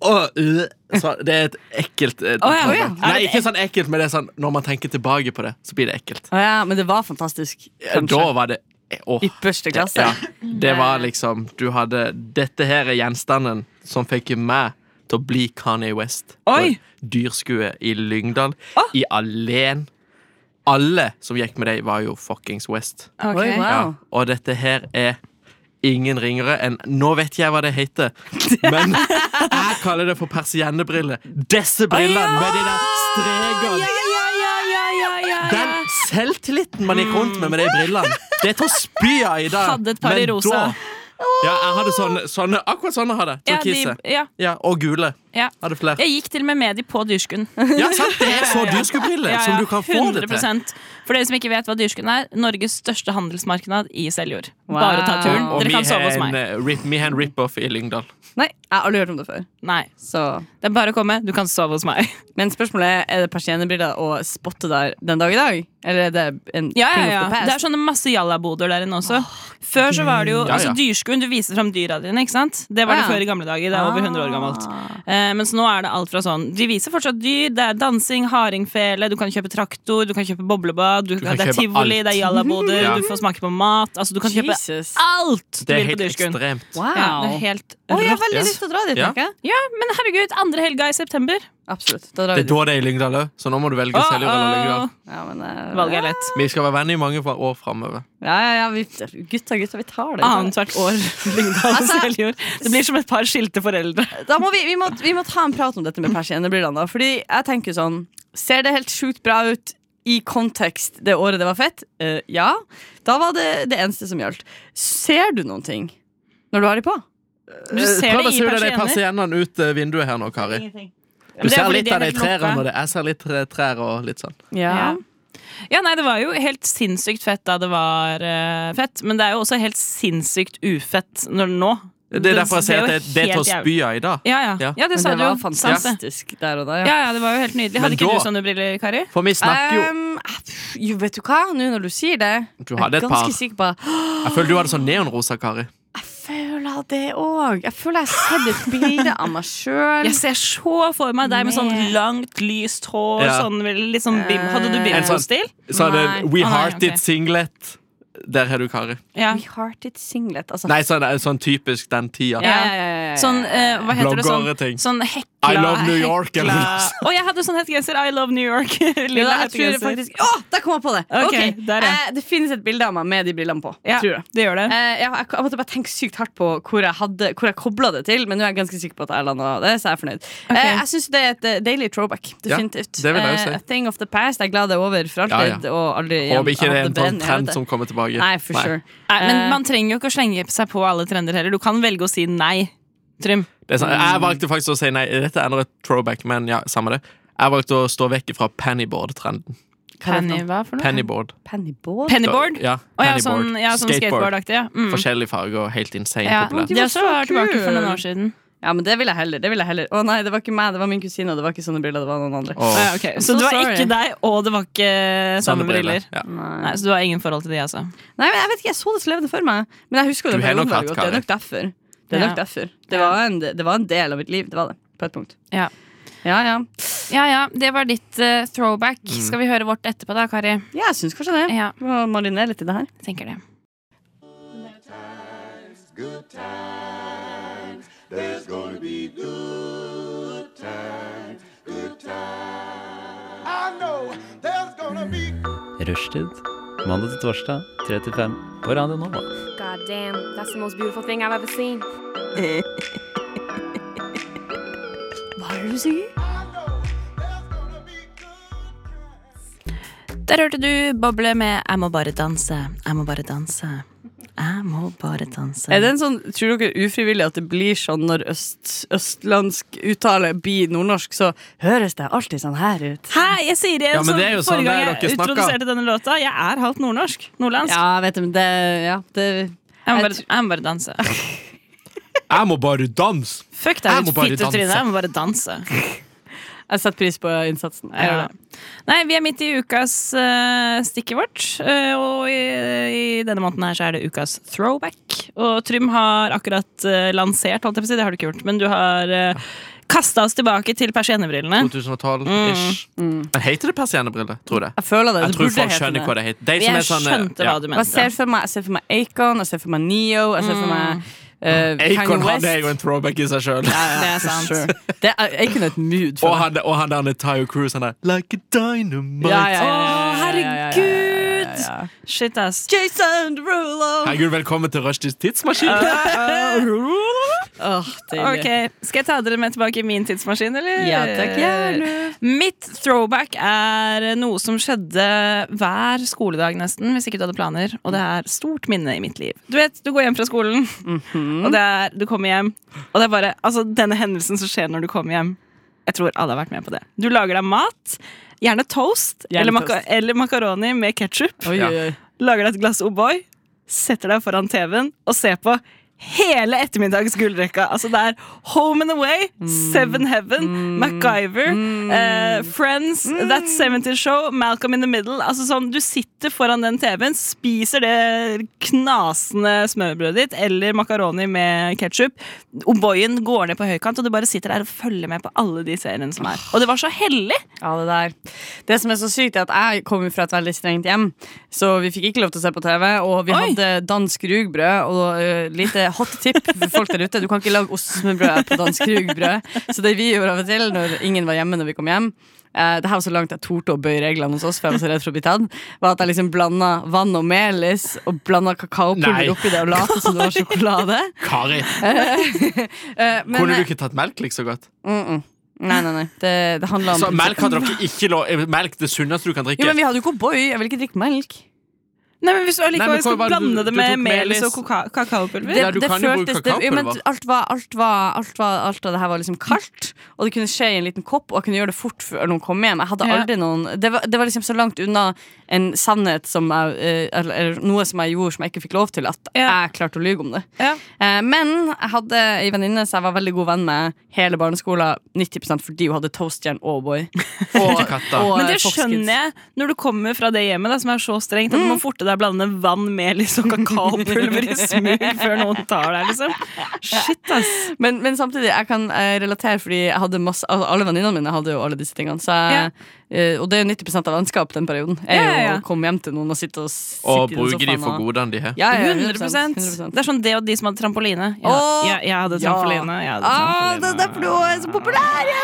Åh, øh, så det er et ekkelt eh,
Å ja, å ja.
throwback. Nei, ikke sånn ekkelt, men det er sånn når man tenker tilbake på det, så blir det ekkelt.
Å ja, men det var fantastisk.
Ja, Da var det eh, åh.
Ypperste klasse.
Ja, det var liksom Du hadde Dette her er gjenstanden som fikk meg til å bli Kanye West. På
Oi.
et dyrskue i Lyngdal. I Alen. Alle som gikk med det, var jo fuckings West.
Oi, wow.
Ja, og dette her er ingen ringere enn Nå vet jeg hva det heter, men jeg kaller det for persiennebriller. Disse brillene med de der strekene. Den selvtilliten man gikk rundt med med de brillene, det er til å spy av i dag.
Hadde et par i
Men da-
rosa.
Ja, jeg hadde sånne, sånne akkurat sånne hadde jeg.
Ja, de,
Turkise.
ja,
Ja, og gule.
ja.
Hadde flere.
Jeg gikk til og med med de på dyrskuen.
Ja, sant? Det er så dyrskuebriller
Ja, ja,
som du kan få det til.
100%. For dere som ikke vet hva dyrskuen er, Norges største handelsmarked i Seljord.
Wow.
Bare ta turen.
Og
Dere
vi
kan
har
sove hos
en,
meg.
eh, rip- vi har en rip-off i Lyngdal.
Nei, jeg har aldri hørt om det før.
Nei,
Så.
det er bare å komme. Du kan sove hos meg.
Men spørsmålet er er det persiennebriller å spotte der den dag i dag? Eller er det en
Ja, ja,
thing
ja.
of the past?
Det er sånne masse jallaboder der inne også. Før så var det jo
Ja, ja.
altså dyrskuen. Du viser fram dyra dine, ikke sant? Det var det
Ja.
før i gamle dager. Det er over 100 år gammelt.
Ah.
Eh, mens nå er det alt fra sånn De viser fortsatt dyr. Det er dansing, hardingfele, du kan kjøpe traktor, du kan kjøpe boblebad, du,
kan
det er
kjøpe
tivoli,
alt.
det er jallaboder,
Ja.
du får smake på mat. Altså, du kan kjøpe
Jesus.
alt du
Det er
vil
helt
på dyrskuen.
ekstremt.
Wow.
Ja, det er helt
Å, jeg har
rått.
veldig
yes.
lyst til å dra dit,
Ja.
tenker jeg.
Ja, men herregud, andre helga i september.
Absolutt. Da drar
Det er
vi dit.
da det er i Lyngdal òg, så nå må du velge
Åh,
Seljord eller Lyngdal.
åh,
Ja, men, eh,
Valget er lett.
Vi skal være venner i mange fra- år framover.
ja, ja, ja, vi, gutta, gutta, vi tar det.
Annethvert år. Lyngdal og
Altså-
Seljord. Det blir som et par skilte foreldre.
da må vi, vi, må, vi må ta en prat om dette med persiennebrillene. da, Fordi jeg tenker sånn Ser det helt sjukt bra ut i kontekst det året det var fett? Eh, ja. Da var det det eneste som gjaldt. Ser du noen ting når du har de på?
Du ser
Prøv å
det i
suge de
persiener.
persiennene ut eh, vinduet her nå, Kari.
Ingenting. Men
Du
det er
ser
fordi
litt
de er
av de
helt oppe.
trærne. og det- Jeg ser litt tre- trær og litt sånn.
Ja.
Ja, nei, det var jo helt sinnssykt fett da det var eh, fett, men det er jo også helt sinnssykt ufett når nå.
Det er derfor jeg sier at
jo
det, det er til å
helt jævlig.
spy av i dag.
Ja, ja.
Ja.
ja, det
Men
sa
det
du jo.
var
Sant det.
fantastisk der og da,
Ja, ja, det var jo helt nydelig. Hadde
Men
ikke
da-
du sånne briller, Kari?
For vi snakker jo
Um, pff, jo, vet du hva? Nå når du sier det
Du hadde
Jeg er
et par.
ganske sikker på
Jeg føler du hadde sånn neonrosa, Kari.
Jeg føler det òg. Jeg føler jeg har sett et bilde av meg sjøl.
Jeg ser så for meg deg med sånn langt, lyst hår,
Ja.
sånn, vel- litt sånn bim. Hadde du
Eh,
en sånn-
bimbo-stil?
Sånn
Nei.
en We
Å, nei,
Heart
ok.
It singlet. Der har du Kari.
Ja.
We hearted singlet. Altså,
Nei, sånn, sånn typisk den tida.
Ah. Ja.
ja.
Sånn, eh, hva heter det?
Bloggere-ting.
Sånn, sånn hekla
I love New York, eller
hekla-
noe sånt.
Å, jeg hadde sånn hettegenser. I love New York.
Ja,
Lilla
jeg tror
hettegenser.
det faktisk Å, der kom jeg på det!
Ok,
Ok.
der, ja.
eh, det finnes et bilde av meg med de brillene på.
Ja,
Tror jeg.
det gjør det.
Eh, jeg, jeg, jeg måtte bare tenke sykt hardt på hvor jeg, hadde- hvor jeg kobla det til, men nå er jeg ganske sikker på at jeg landa det, så jeg er fornøyd. Eh, jeg syns det er et eh, deilig throwback. Definitivt.
det vil jeg jo si.
Eh, a thing of the past. Jeg er glad det er over
Ja,
for
ja.
alltid. Og aldri igjen.
Håper ikke det er en sånn
At brenner, jeg vet
trend
det.
som kommer tilbake.
Nei, for sure.
Nei, men man trenger jo ikke å slenge seg på alle trender heller. Du kan velge å si nei, Trym.
Det er sånn,
Mm.
jeg valgte faktisk å si nei. Dette er enda et throwback, men ja, samme det. Jeg valgte å stå vekk fra pennyboard-trenden.
Hva er det for noe?
hva for noe?
Pennyboard.
Pennyboard?
Pennyboard?
Ja,
Å ja,
pennyboard.
sånn, ja, sånn skateboardaktig. Ja. Mm.
Forskjellige farger og helt insane
Ja.
populært.
De var også
Det var så
tilbake for noen
kul.
år siden.
Ja, men det vil jeg heller. det vil jeg heller Å nei, det var ikke meg, det var min kusine, og det var ikke sånne briller. det var noen andre
Og
Ja, ok. Så
I'm so
det var
sorry.
ikke deg, og det var ikke samme
sånne briller.
briller.
Ja.
Nei, Så du har ingen forhold til de, altså.
Nei, men Jeg vet ikke, jeg så det så levende for meg. Men jeg husker jo
Du
den
har nok
perioden veldig
hatt,
godt. Det er nok derfor. Det, er
Ja.
nok derfor. det,
Ja.
var en, det var en del av mitt liv. Det var det. På et punkt.
Ja.
ja. ja.
Ja ja, det var ditt eh, throwback. Skal vi høre vårt etterpå, da, Kari?
Ja, jeg syns kanskje det.
Ja.
Må marinere litt i det her.
Jeg tenker det.
Rushtid. Mandag til torsdag, 3 til 5 på Radio Nova.
God damn, that's the most beautiful thing I've ever seen.
Der hørte du Boble med 'Jeg må bare danse', 'Jeg må bare danse'. Jeg må bare danse.
Er det en sånn, Tror dere ufrivillig at det blir sånn når øst, østlandsk uttale blir nordnorsk, så høres det alltid sånn her ut?
Hæ, jeg sier det,
Ja, men
som
det er jo sånn
forrige
det
gang
er
jeg
dere snakker.
introduserte denne låta. Jeg er halvt nordnorsk. Nordlandsk.
Ja, jeg vet du, men det Ja, det
Jeg, må
Jeg
bare, jeg må bare danse.
Jeg må bare danse!
Fuck
Jeg
deg,
må
ditt
bare
fittetryne.
danse.
Jeg må bare danse.
Jeg setter pris på innsatsen. Jeg gjør
Ja.
det.
Nei, vi er midt i ukas uh, stikket vårt. eh, og i, i denne måneden her så er det ukas throwback. Og Trym har akkurat eh, lansert, holdt jeg på å si, det har du ikke gjort, men du har uh, kasta oss tilbake til persiennebrillene.
2012-ish. Men heter det persiennebriller? Tror det.
Jeg føler det.
Jeg
det
tror
burde
folk
hete
skjønner hva det heter. De som
Jeg
er sånne-
skjønte
ja.
hva du
Og Jeg ser
mente.
for meg, jeg ser for meg Acon, jeg ser for meg Neo, jeg ser for meg eh,
Acon Mm. han
Kanye West.
er jo en throwback i seg sjøl.
Ja, ja,
Det er sant.
Sure. Det er Acon er et mood
Og
for meg.
han, og han der Tayo Cruise, han der Like a dynamite.
Ja, ja,
Å,
ja, ja, ja, ja, ja, ja, ja, ja.
Shit, ass.
Jason Derulo!
Herregud, velkommen til Rushdies tidsmaskin.
Åh, deilig.
Ok, Skal jeg ta dere med tilbake i min tidsmaskin, eller?
Ja, takk, gjerne.
Mitt throwback er noe som skjedde hver skoledag, nesten, hvis ikke du hadde planer. Og det er stort minne i mitt liv. Du vet, du går hjem fra skolen,
Mhm.
og det er, du kommer hjem, og det er bare altså, denne hendelsen som skjer når du kommer hjem. Jeg tror alle har vært med på det. Du lager deg mat. Gjerne toast,
Gjerne
eller, maka
toast.
eller makaroni med ketsjup.
Oi, oi, oi.
Lager deg et glass O'boy, setter deg foran TV-en og ser på hele ettermiddagens gullrekka. Altså det er Home and Away, Seven Heaven, MacGyver, eh, Friends, That 70 Show, Malcolm in the Middle. Altså sånn, Du sitter foran den TV-en, spiser det knasende smørbrødet ditt eller makaroni med ketsjup. O'boyen går ned på høykant, og du bare sitter der og følger med på alle de seriene som er. Og det var så hellig!
Ja, det der. Det som er så sykt, er at jeg kom jo fra et veldig strengt hjem, så vi fikk ikke lov til å se på TV. Og vi
Oi.
hadde dansk rugbrød og eh, lite hot tip for folk der ute. Du kan ikke lage ostesmørbrød på dansk rugbrød. Så det vi gjorde av og til når ingen var hjemme når vi kom hjem, eh, det her var så langt jeg torde å bøye reglene hos oss, for jeg var så redd for å bli tatt, var at jeg liksom blanda vann og melis og blanda
Nei.
kakaopulver oppi det og lot som det var sjokolade.
Kari,
Eh, men-
kunne du ikke tatt melk like så godt?
Mm, mm. Nei, nei, nei. Det, det handla om
Så melk hadde dere ikke lov Melk det sunneste du kan drikke.
Jo, men vi hadde jo O'boy. Jeg vil ikke drikke melk.
Nei, men Hvis du
Nei, men
allikevel
hva
skal
var det du-
blande det
du
med
tok
melis
melis?
og koka kakaopulver
Ja, du kan jo bruke
det, jo, men
kakaopulver.
alt, var, alt, var, alt, var, alt av det her var liksom kaldt, og det kunne skje i en liten kopp, og jeg kunne gjøre det fort før noen kom hjem. Jeg hadde
Ja.
aldri noen det var, det var liksom så langt unna en sannhet som jeg, eh, eller, eller noe som jeg gjorde som jeg ikke fikk lov til, at
Ja.
jeg klarte å lyge om det.
Ja.
Eh, Men jeg hadde ei venninne som jeg var veldig god venn med hele barneskolen, 90 fordi hun hadde toastjern og O'boy. Og,
Katta.
og
Men det
Fox Kids.
skjønner jeg når du kommer fra det hjemmet da, som er så strengt at du må forte deg å blande vann, melis og kakaopulver i smug før noen tar deg, liksom. Shit, ass.
Men, men samtidig, jeg kan eh, relatere fordi jeg hadde masse, altså, alle venninnene mine hadde jo alle disse tingene. Så jeg, eh, og det er jo 90 av vennskap den perioden.
Ja,
Er jo
ja, ja.
å komme hjem til noen og sitte og sitte
Og
i den
bruke de
sofaen
for
og-
godene de har.
Ja, ja,
100,
100%.
Det er sånn det og de som hadde trampoline. Ja,
Åh!
jeg, jeg hadde
Ja.
trampoline. Jeg hadde
Ah, det
trampoline.
er derfor du også er så populær! Ja.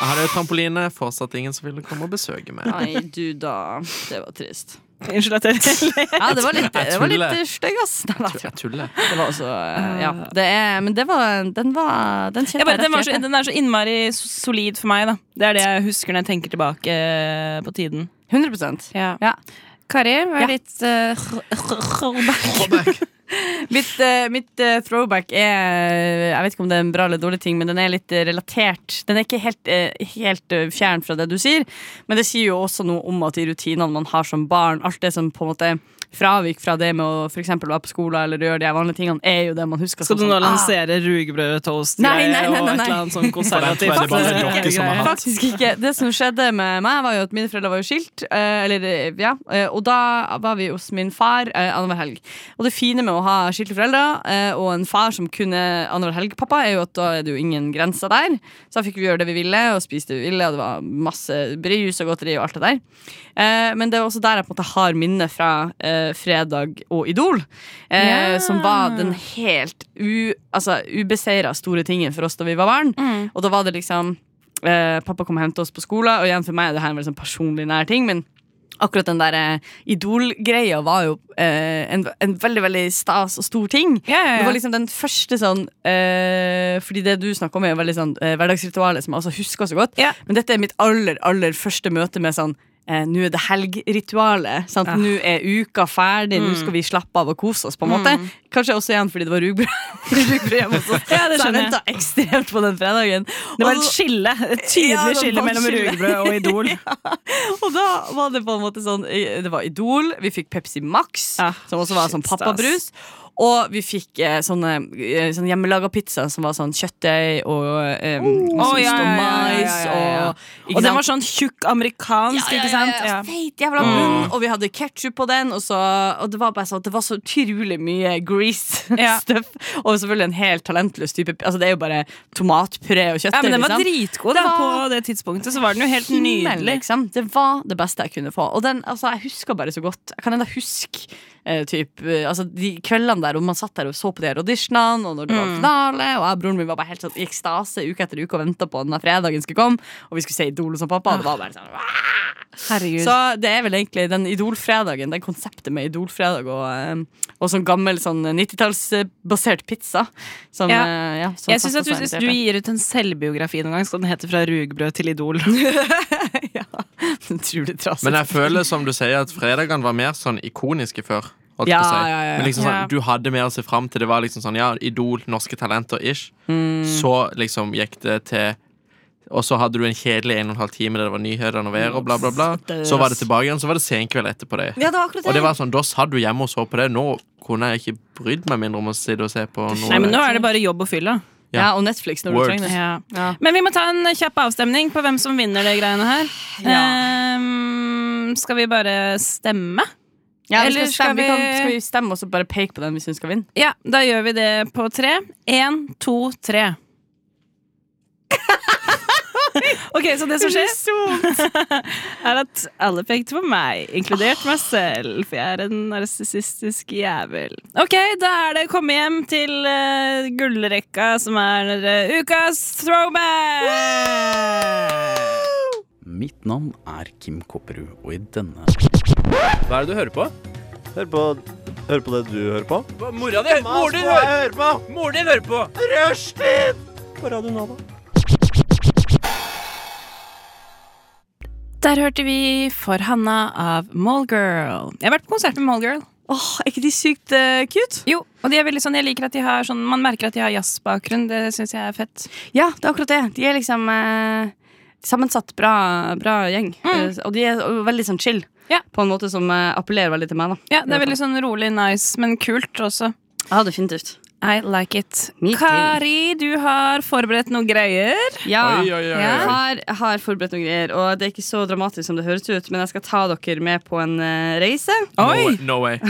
Jeg hadde jo trampoline, fortsatt ingen som ville komme og besøke meg.
Nei, du da. Det var trist.
Unnskyld at jeg ler.
Ja, det var litt,
Jeg
det var litt
tuller.
eh, stygg, ass. Nei, nei,
Jeg tuller.
Det var også eh, Ja. Det er, men det var Den var Den kjente
Jeg bare, den, var
rett i
så,
hjertet.
den er så innmari s- solid for meg, da. Det er det jeg husker når jeg tenker tilbake eh, på tiden.
100
Ja.
ja.
Kari, hva
Ja.
er ditt
eh,
uh,
Mitt, eh, mitt eh, throwback er Jeg vet ikke om det er en bra eller dårlig ting, men den er litt eh, relatert. Den er ikke helt, eh, helt eh, fjern fra det du sier, men det sier jo også noe om at de rutinene man har som barn, alt det som på en måte fravik fra det med å for eksempel være på skolen eller gjøre de her vanlige tingene, er jo det man husker.
Skal
som
du nå
sånn, ah,
lansere rugbrødtoast
Nei, nei, nei,
og et
nei, nei.
eller annet sånn konservativt?
For den tror jeg det bare er Jokke som har
eh,
hatt.
Faktisk ikke. Det som skjedde med meg, var jo at mine foreldre var jo skilt. eh, Eller, eh, ja. eh, Og da var vi hos min far eh, annenhver helg. Og det fine med å ha skilte foreldre eh, og en far som kunne annenhver helg-pappa, er jo at da er det jo ingen grenser der. Så da fikk vi gjøre det vi ville, og spise det vi ville, og det var masse brus og godteri og alt det der. Eh, Men det er også der jeg på en måte har minnet fra eh, Fredag og Idol, eh,
Ja.
som var den helt u, altså, ubeseira store tingen for oss da vi var barn.
Mm.
Og da var det liksom Eh, pappa kom og hentet oss på skolen, og igjen for meg er det her en veldig sånn personlig nær ting, men akkurat den der eh, idol-greia var jo eh, en, en veldig, veldig stas og stor ting.
Ja, ja,
Det
ja.
var liksom den første sånn eh, Fordi det du snakker om, er jo veldig sånn eh, hverdagsritualet som jeg også husker så godt.
Ja.
Men dette er mitt aller, aller første møte med sånn eh, Nå er det helgritualet. sant?
Ah.
Nå er uka ferdig, nå
Mm.
skal vi slappe av og kose oss. på en måte Kanskje også igjen fordi det var rugbrød rugbrød hjemme hos oss.
Ja, det
så jeg
skjønner jeg.
venta ekstremt på den fredagen.
Det var
Og
et
så-
skille, et
Ja, det
tydelig
var
skille mellom
skille.
rugbrød og Idol.
Og da var det på en måte sånn eh, Det var Idol, vi fikk Pepsi Max,
Ah,
som også var
shit,
sånn pappabrus. Og vi fikk eh, sånne, eh, sånn hjemmelaga pizza som var sånn kjøttdeig og eh,
Å,
masse
Oh, ja,
ost
ja, ja,
og
ja,
mais.
ja, ja.
Og,
Og den var sånn tjukk amerikansk,
ja,
ikke
ja, ja,
sant?
ja.
Ja.
Feit jævla bunn,
Mm.
og vi hadde ketsjup på den. Og, så, og det var bare sånn at det var så utrolig mye grease
Ja.
stuff. Og selvfølgelig en helt talentløs type Altså Det er jo bare tomatpuré og kjøttdeig.
Ja, men den var
liksom.
dritgod da,
Det var-
på det tidspunktet. Så var den jo helt
himmel,
nydelig.
liksom. Det var det beste jeg kunne få. Og den, altså, jeg husker bare så godt. Jeg kan enda huske eh, typ, eh, altså, de kveldene der hvor man satt der og så på de her auditionene, og når det
Mm.
var finale, og jeg og broren min var bare helt sånn i ekstase uke etter uke og venta på at denne fredagen skulle komme, og vi skulle se Idol som pappa, og det var bare sånn "Wah!"
Herregud.
Så det er vel egentlig den Idol-fredagen, det konseptet med Idol-fredag og, eh, og sånn gammel sånn 90-tallsbasert pizza som
Ja.
eh, ja, som
jeg synes at
satt oss
hvis, hvis
og irriterte.
du gir ut en selvbiografi noen gang, skal den hete 'Fra rugbrød til Idol'.
Utrolig trasig.
Men jeg føler som du sier at fredagene var mer sånn ikoniske før. holdt jeg
Ja,
på å si.
ja, ja, ja.
Men liksom
Ja.
sånn, Du hadde mer å se fram til. Det var liksom sånn, ja, Idol, norske talenter, ish.
Mm.
Så liksom gikk det til Og så hadde du en kjedelig en og en halv time der det var nyheter og vær og bla, bla, bla. Så var det tilbake igjen, så var det senkveld etterpå det.
ja, det var akkurat
Og det var sånn, da satt du hjemme og så på det. Nå kunne jeg ikke brydd meg mindre om å sitte og se på noe.
Nei, men nå er det bare jobb og fylla.
Ja.
ja. og Netflix når
Word.
du trenger det. Ja.
Men vi må ta en kjapp avstemning på hvem som vinner det greiene her. Ehm, skal vi bare stemme?
Ja, vi
Eller skal
skal, stemme, vi...
vi-
kan, skal vi stemme og så bare peke på den hvis hun skal vinne?
Ja, da gjør vi det på tre. Én, to, tre. Ok, så det som skjer er at alle pekte på meg, inkludert meg selv, for jeg er en narsissistisk jævel. Ok, da er det å komme hjem til eh, gullrekka, som er eh, ukas throwback!
Mitt navn er Kim Kopperud, og i denne
Hva er det du hører på?
Hør på, hør på det du hører på.
Mora di! Moren din hører på! Moren din hører på!
Der hørte vi For Hanna av Mallgirl. Jeg har vært på konsert med Mallgirl.
Åh, er ikke de sykt eh, cute?
Jo, og de er veldig sånn, jeg liker at de har sånn Man merker at de har jazzbakgrunn. Det syns jeg er fett.
Ja, det er akkurat det. De er liksom eh, sammensatt bra, bra gjeng. Eh, og de er veldig sånn chill.
Ja.
På en måte som eh, appellerer veldig til meg. da
Ja, Det er veldig sånn rolig, nice, men kult også.
Ja, definitivt.
I like it.
Me too.
Kari, du har forberedt noen greier.
Ja,
Oi, oi, oi, oi.
jeg har, har forberedt noen greier, og det er ikke så dramatisk som det høres ut, men jeg skal ta dere med på en eh, reise.
Oi!
No, way.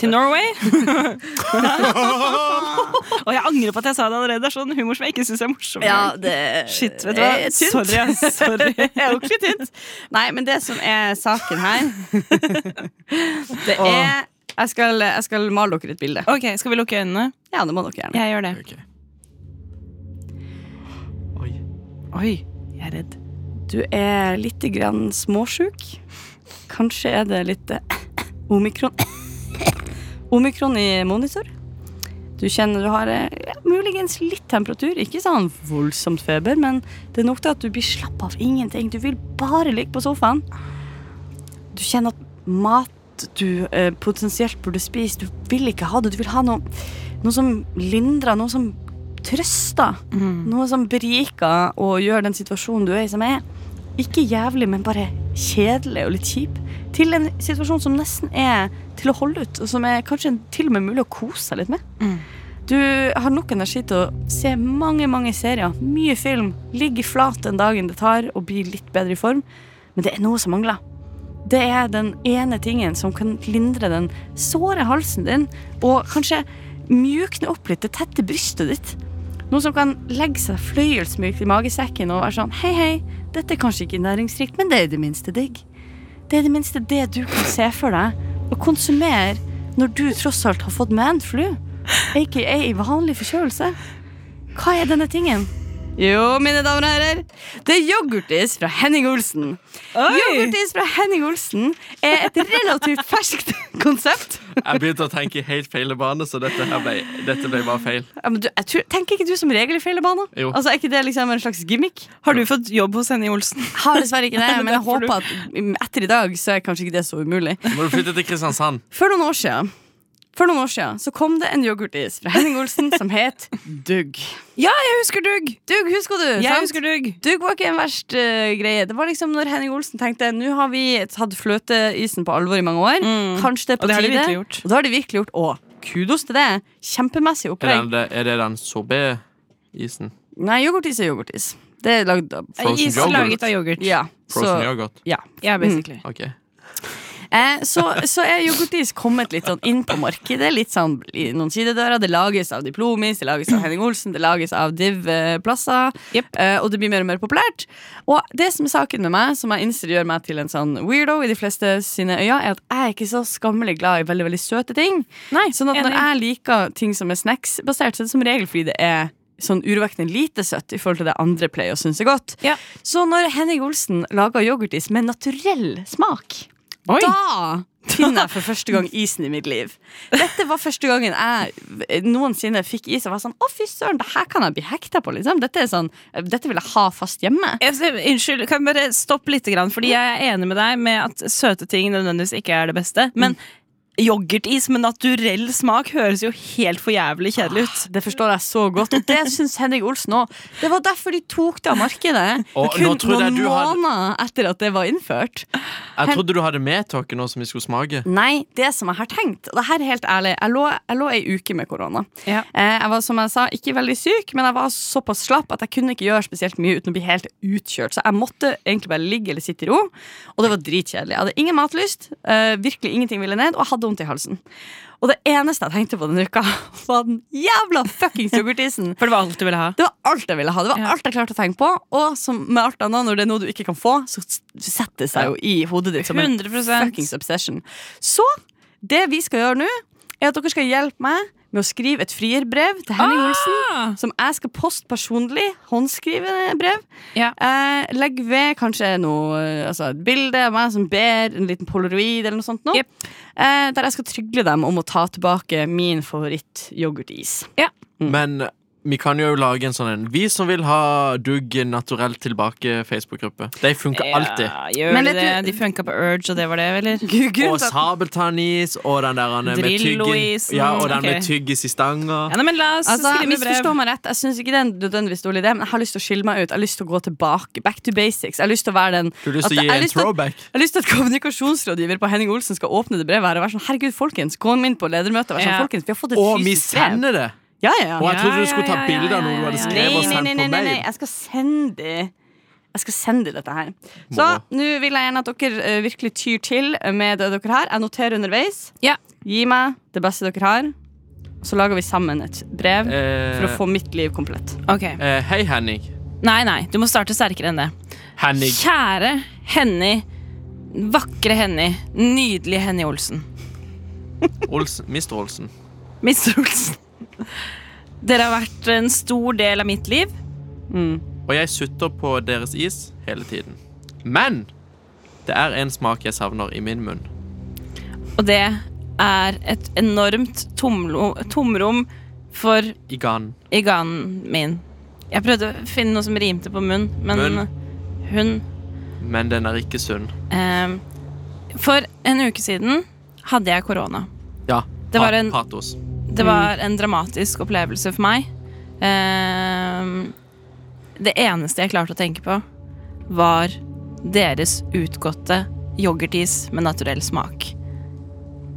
Til Norway. og jeg angrer på at jeg sa det allerede. Det er sånn humor som jeg ikke syns er morsom.
det
Shit, vet du hva.
er tynt.
Sorry, ass. sorry.
Det er jo ikke tynt. Nei, men det som er saken her, det er jeg skal, jeg skal male dere et bilde.
Ok, Skal vi lukke øynene?
Ja, det må dere gjerne.
Jeg gjør det.
Ok. Oi.
Oi, jeg er redd.
Du er litt grann småsjuk. Kanskje er det litt eh, omikron Omikron i monitor. Du kjenner du har eh, ja, muligens litt temperatur. Ikke sånn voldsomt feber, men det er nok til at du blir slapp av ingenting. Du vil bare ligge på sofaen. Du kjenner at mat du eh, potensielt burde spise, du vil ikke ha det. Du vil ha noe, noe som lindrer, noe som trøster. Noe som beriker og gjør den situasjonen du er i, som er ikke jævlig, men bare kjedelig og litt kjip, til en situasjon som nesten er til å holde ut, og som er kanskje til og med mulig å kose seg litt med. Du har nok energi til å se mange, mange serier, mye film, ligge flat den dagen det tar, og bli litt bedre i form, men det er noe som mangler. Det er den ene tingen som kan lindre den såre halsen din, og kanskje mjukne opp litt det tette brystet ditt. Noe som kan legge seg fløyelsmykt i magesekken og være sånn Hei, hei, dette er kanskje ikke næringsrikt, men det er i det minste digg. Det er i det minste det du kan se for deg og konsumere når du tross alt har fått manflu, aka vanlig forkjølelse. Hva er denne tingen? Jo, mine damer og herrer, det er yoghurtis fra Henning Olsen. Yoghurtis fra Henning Olsen er et relativt ferskt konsept.
Jeg begynte å tenke i helt feil bane, så dette, her ble, dette ble bare feil.
Ja, men du, jeg tror, tenker ikke du som regel i fellebane?
Jo.
Altså, er ikke det liksom en slags gimmick?
Har du fått jobb hos Henny Olsen?
Har dessverre ikke det, men jeg
derfor
håper at mm, etter i dag så er kanskje ikke det så umulig.
Nå må du flytte til Kristiansand.
For noen år siden, for noen år siden så kom det en yoghurtis fra Henning Olsen som het Dugg.
Ja, jeg husker Dugg!
Dugg, husker du?
Jeg
sant?
husker Dugg.
Dugg var ikke en verst eh, greie. Det var liksom når Henning Olsen tenkte Nå har vi tatt fløteisen på alvor i mange år.
Mm.
Kanskje det er
Og
på
det har de
tide.
virkelig gjort.
Og det har de virkelig gjort. Og kudos til det. Kjempemessig
Er det
opplegg.
den, er det den sorbet-isen?
Nei, yoghurtis er yoghurtis. Det er lagd av
Frozen
Is
yoghurt.
laget av yoghurt.
Ja.
Frozen
Så,
yoghurt?
ja.
Ja, basically.
Ok.
Eh, så, så er yoghurtis kommet litt sånn inn på markedet. Litt sånn i noen sidedører Det lages av Diplomis, det lages av Henning Olsen, det lages av Div-plasser.
Jepp.
Eh, og det blir mer og mer populært. Og det som er saken med meg, som jeg innser gjør meg til en sånn weirdo i de fleste sine øyne, er at jeg er ikke så skammelig glad i veldig veldig søte ting.
Nei,
Sånn at når
enig.
jeg liker ting som er snacksbasert, så er det som regel fordi det er sånn urovekkende lite søtt i forhold til det andre pleier å synes er godt.
Ja.
Så når Henning Olsen lager yoghurtis med naturell smak,
Oi.
da finner jeg for første gang isen i mitt liv. Dette var første gangen jeg noensinne fikk is og var sånn Å, fy søren, det her kan jeg bli hekta på, liksom. Dette, er sånn, dette vil jeg ha fast hjemme.
Jeg ser- Unnskyld, kan jeg bare stoppe litt? Grann, fordi jeg er enig med deg med at søte ting nødvendigvis ikke er det beste. Men yoghurtis med naturell smak høres jo helt for jævlig kjedelig ut.
Det forstår jeg så godt, og det syns Henning Olsen òg. Det var derfor de tok det av markedet.
Og nå
kun
trodde jeg
noen
du hadde-
måneder etter at det var innført.
Jeg trodde du hadde med dere nå som vi skulle smake.
Nei, det som jeg har tenkt, og det her er helt ærlig Jeg lå, jeg lå ei uke med korona.
Ja.
Eh, Jeg var som jeg sa, ikke veldig syk, men jeg var såpass slapp at jeg kunne ikke gjøre spesielt mye uten å bli helt utkjørt. Så jeg måtte egentlig bare ligge eller sitte i ro, og det var dritkjedelig. Jeg hadde ingen matlyst, eh, virkelig ingenting ville ned, og jeg hadde vondt i halsen. Og det eneste jeg tenkte på denne uka, var den jævla fuckings yoghurtisen.
For det var alt du ville ha.
Det var alt jeg ville ha. Det var
Ja.
alt jeg klarte å tenke på. Og som med alt annet, når det er noe du ikke kan få, så s- setter det seg jo i hodet ditt som en
100%.
fuckings obsession. Så det vi skal gjøre nå, er at dere skal hjelpe meg med å skrive et frierbrev til Henning
Ah!
Olsen. Som jeg skal poste personlig. Håndskrive brev.
Ja.
Eh, legg ved kanskje noe, eh, altså et bilde av meg som ber, en liten polaroid eller noe sånt. Nå,
Jep.
eh,
Mm.
der jeg skal trygle dem om å ta tilbake min favoritt-yoghurtis.
Men vi kan jo lage en sånn en Vi som vil ha Dugg naturell tilbake Facebook-gruppe. De funker alltid.
Ja, gjør
Men
de
vet
det?
du-
De funka på Urge, og det var det, eller?
Og sabeltannis og den der eh, med tyggis
Drillo-isen,
ja, og den
ok.
med tyggis i stanga.
Ja, nei, men la oss
Altså,
skrive brev.
misforstå meg rett. Jeg syns ikke det er en nødvendigvis dårlig idé, men jeg har lyst til å skille meg ut. Jeg har lyst til å gå tilbake. Back to basics. Jeg har lyst til å være den
Du har lyst til å
at-
gi
jeg har
en
lyst til at-
throwback?
Jeg har lyst til at kommunikasjonsrådgiver på Henning Olsen skal åpne det brevet her og være sånn Herregud, folkens, gå inn på ledermøtet og vær sånn
Ja.
Folkens, vi har fått et
Å, vi
fysisk brev.
sender det!
Ja, ja,
Og
ja.
jeg trodde du skulle ta
ja, ja,
bilder av
ja,
noe du hadde
ja, ja.
skrevet og
Nei, nei,
sendt
nei,
på
nei, nei,
mail.
jeg skal sende de Jeg skal sende de dette her. Så
Moro.
nå vil jeg gjerne at dere eh, virkelig tyr til med det dere har. Jeg noterer underveis.
Ja.
Gi meg det beste dere har. Så lager vi sammen et brev
Eh,
for å få mitt liv komplett.
Ok.
eh, hei, Henning.
Nei, nei, du må starte sterkere enn det.
Henning.
Kjære Henny. Vakre Henny. Nydelige Henny Olsen.
Olsen. Mr. Olsen.
Mr. Olsen. Dere har vært en stor del av mitt liv.
Og jeg sutter på deres is hele tiden. Men det er en smak jeg savner i min munn.
Og det er et enormt tomlo, tomrom for
I ganen.
iganen min. Jeg prøvde å finne noe som rimte på munn, men
Munn.
hun
Men den er ikke sunn.
eh, For en uke siden hadde jeg korona.
Ja.
Det var en-
Patos.
Det var en dramatisk opplevelse for meg. Ehm, det eneste jeg klarte å tenke på, var deres utgåtte yoghurtis med naturell smak.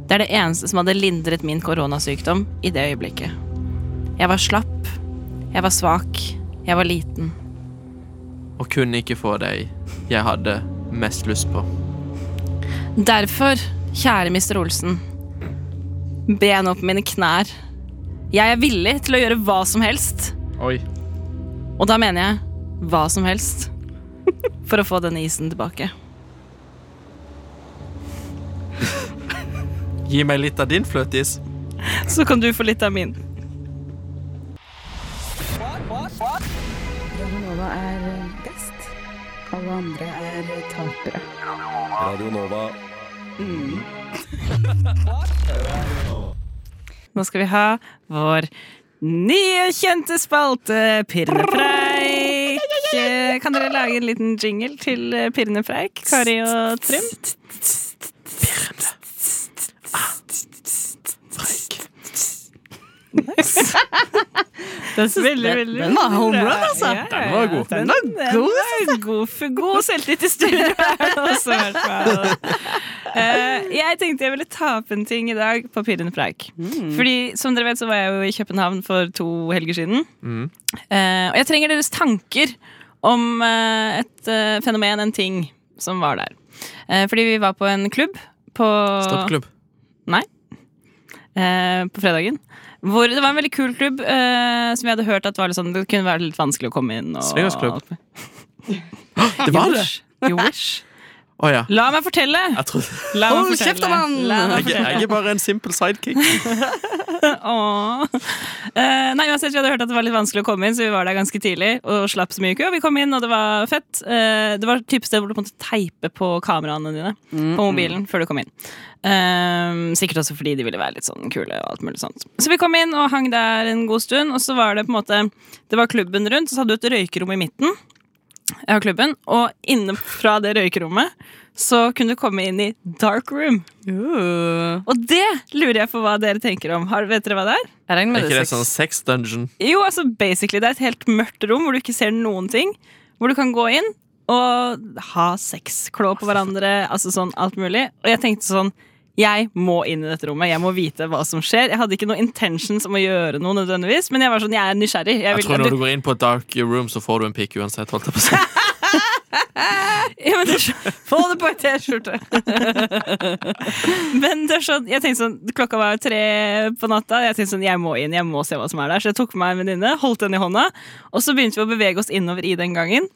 Det er det eneste som hadde lindret min koronasykdom i det øyeblikket. Jeg var slapp, jeg var svak, jeg var liten.
Og kunne ikke få deg jeg hadde mest lyst på.
Derfor, kjære Mr. Olsen, ben opp mine knær. Jeg er villig til å gjøre hva som helst
Oi.
Og da mener jeg hva som helst for å få denne isen tilbake.
Gi meg litt av din fløteis.
Så kan du få litt av min.
Radionova er eh, best. Alle andre er eh, tapere.
Radio Nova.
Mm. Nå skal vi ha vår nye kjente spalte, Pirnepreik. Eh, Kan dere lage en liten jingle til eh, Pirnepreik, Kari og Trym? Nice. Veldig, veldig
den var home run, altså.
Den var god. Den var god, for god selvtillit i studio. her også, i hvert fall. Eh, jeg tenkte jeg ville ta opp en ting i dag på Pirren Preik.
Mm.
Fordi som dere vet så var jeg jo i København for to helger siden.
Mm.
Eh, og jeg trenger deres tanker om eh, et eh, fenomen, en ting, som var der. Eh, fordi vi var på en klubb på,
Stoppklubb.
eh, på fredagen. Hvor det var en veldig kul klubb eh, som jeg hadde hørt at var litt sånn, det kunne være litt vanskelig å komme inn. Og,
Swingersklubb. Det var det!
You wish.
Å ja.
La meg fortelle!
Jeg trodde
La meg
Hold
fortelle.
kjeft, da, mann!
La meg
jeg, jeg er bare en simple sidekick.
Åh. Eh, nei, uansett, Vi hadde hørt at det var litt vanskelig å komme inn, så vi var der ganske tidlig. Og slapp så mye kø, og vi kom inn, og det var fett. Eh, det var et type sted hvor du måtte teipe på kameraene dine på mobilen før du kom inn. Eh, sikkert også fordi de ville være litt sånn kule. og alt mulig sånt Så vi kom inn og hang der en god stund, og så var det på en måte Det var klubben rundt, og så hadde du et røykerom i midten av klubben. Og inne fra det røykerommet så kunne du komme inn i dark room. Og det lurer jeg på hva dere tenker om. Har, vet dere hva det er?
Jeg regner
Er
med
ikke
det
det
er
sånn
sex.
sex dungeon?
Jo, altså basically, det er et helt mørkt rom hvor du ikke ser noen ting. Hvor du kan gå inn og ha sex, klå på hverandre, altså sånn alt mulig. Og jeg tenkte sånn jeg må inn i dette rommet. Jeg må vite hva som skjer. Jeg hadde ikke noen intentions om å gjøre noe, nødvendigvis men jeg var sånn, jeg er nysgjerrig. Jeg
Jeg
vil-
tror når du går inn på et dark room, så får du en pikk uansett. Holdt jeg på å si.
Ja, men det er så- Få det på ei T-skjorte! men det er sånn, jeg tenkte sånn, klokka var tre på natta. Jeg tenkte sånn, jeg må inn, jeg må se hva som er der. Så jeg tok med meg en venninne, holdt den i hånda, og så begynte vi å bevege oss innover i den gangen.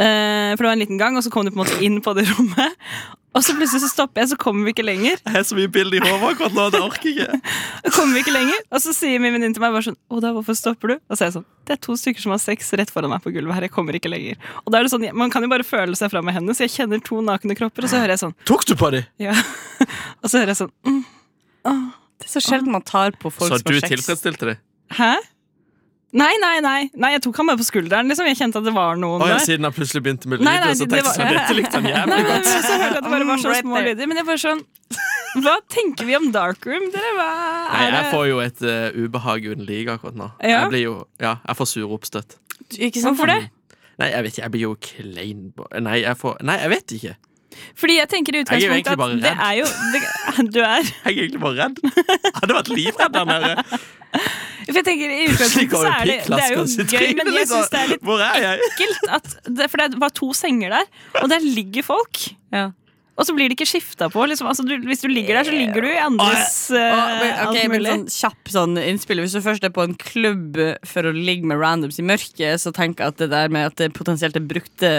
Eh, for det var en liten gang, og så kom du på en måte inn på det rommet. Og så plutselig så stopper jeg, så kommer vi ikke lenger.
Jeg har så mye bilder i hodet akkurat nå. Det orker jeg ikke.
Så kommer vi ikke lenger Og så sier min venninne til meg bare sånn Oda, hvorfor stopper du? Og så er jeg sånn Det er to stykker som har sex rett foran meg på gulvet her Jeg kommer ikke lenger Og da er det sånn Man kan jo bare føle seg fram med henne Så jeg kjenner to nakne kropper Og så hører jeg sånn
Tok du på dem?
Ja Og så hører jeg sånn mm,
Det er så sjelden man tar på folk
Så
som
du
har sex.
tilfredsstilte dem?
Hæ? Nei, nei, nei, nei, jeg tok han bare på skulderen. Liksom. Jeg kjente at det var noen
Å ja,
der.
siden han plutselig begynte med
Nei,
lyd,
nei,
og så
det- det
tenkte jeg sånn
var-
Dette likte han jævlig
Nei,
godt. Mm,
men så hørte jeg at det bare var så
Right
små
there.
lyder. Men jeg bare sånn Hva tenker vi om dark room, dere? Hva
Nei, jeg
er det?
får jo et eh, ubehag uten like akkurat nå.
Ja.
Jeg blir jo, ja, jeg får sure oppstøtt.
Ikke sant?
Hvorfor det?
Nei, jeg vet ikke, jeg blir jo klein på- Nei, jeg får Nei, jeg vet ikke.
Fordi jeg tenker i
Jeg er jo egentlig
utgangspunktet
bare
at det
redd.
er jo det, Du er
Jeg er egentlig bare redd. Jeg hadde vært livredd der nede.
For jeg tenker i utgangspunktet så er det, det er jo gøy, men jeg syns det er litt
Hvor er jeg?
ekkelt at det, For det var to senger der, og der ligger folk.
Ja.
Og så blir det ikke skifta på. Liksom. Altså, du, hvis du ligger der, så ligger du i andres eh,
Og, men, ok,
alt
men
mulig.
sånn kjapp sånn innspill Hvis du først er på en klubb for å ligge med randoms i mørket, så tenk at det der med at det potensielt er brukte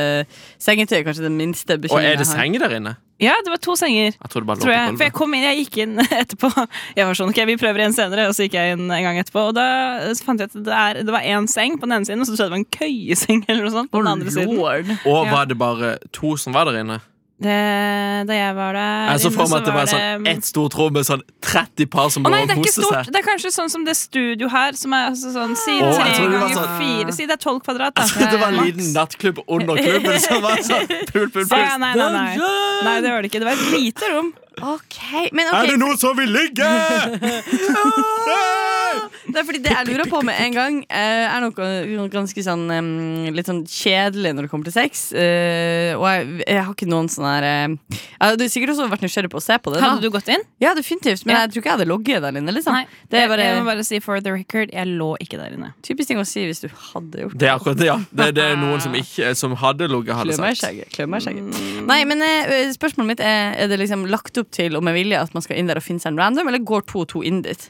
sengetøy, er kanskje den minste
Og er
bekymringen
det seng der inne?
Ja, det var to senger.
Jeg tror det bare lå
Tror jeg,
på
for jeg
gulvet.
kom inn, jeg gikk inn etterpå. Jeg var sånn, ok, vi prøver igjen senere Og så gikk jeg inn en gang etterpå. Og da eh, så fant jeg at det, er, det var én seng på den ene siden, og så tror jeg det var en køyeseng eller noe sånt på den andre siden.
Lord.
Og
Ja.
var det bare to som var der inne?
Det, da jeg var der
Jeg så
inne,
for meg at det var sånn
det-
ett stort rom med sånn 30 par som
Å
lå
nei,
og
det er ikke
koste
stort.
seg.
Det er kanskje sånn som det studio her, som er altså sånn side
Å, jeg
tre
tror det var
ganger
sånn-
fire side. Det er tolv kvadrat, da. Eh,
Det var en liten nattklubb under klubben som var sånn pul, pul,
Så, ja,
pul.
nei, nei, nei. nei, det var det ikke. Det var et lite rom.
Ok, men ok
noen som vil ligge?!
Det er fordi det jeg lurer på med en gang, eh, er noe ganske sånn em, litt sånn kjedelig når det kommer til sex. eh, Og jeg, jeg har ikke noen sånn her eh, Jeg hadde sikkert også vært nysgjerrig på å se på det.
Hadde
Da.
du gått inn?
Ja, definitivt, men
Ja.
jeg tror ikke jeg hadde logget der inne. Liksom. Det
Jeg,
er bare
jeg må bare si for the record, jeg lå ikke der inne.
typisk ting å si hvis du hadde gjort
Det er akkurat det, ja. Det, det er noen som, ikke, som hadde ligget, hadde
Klø meg i
sagt.
skjegget. klø meg i skjegget.
Mm.
Nei, men eh, spørsmålet mitt er Er det liksom lagt opp til og med vilje at man skal inn der og finne seg en random, eller går to og to inn dit?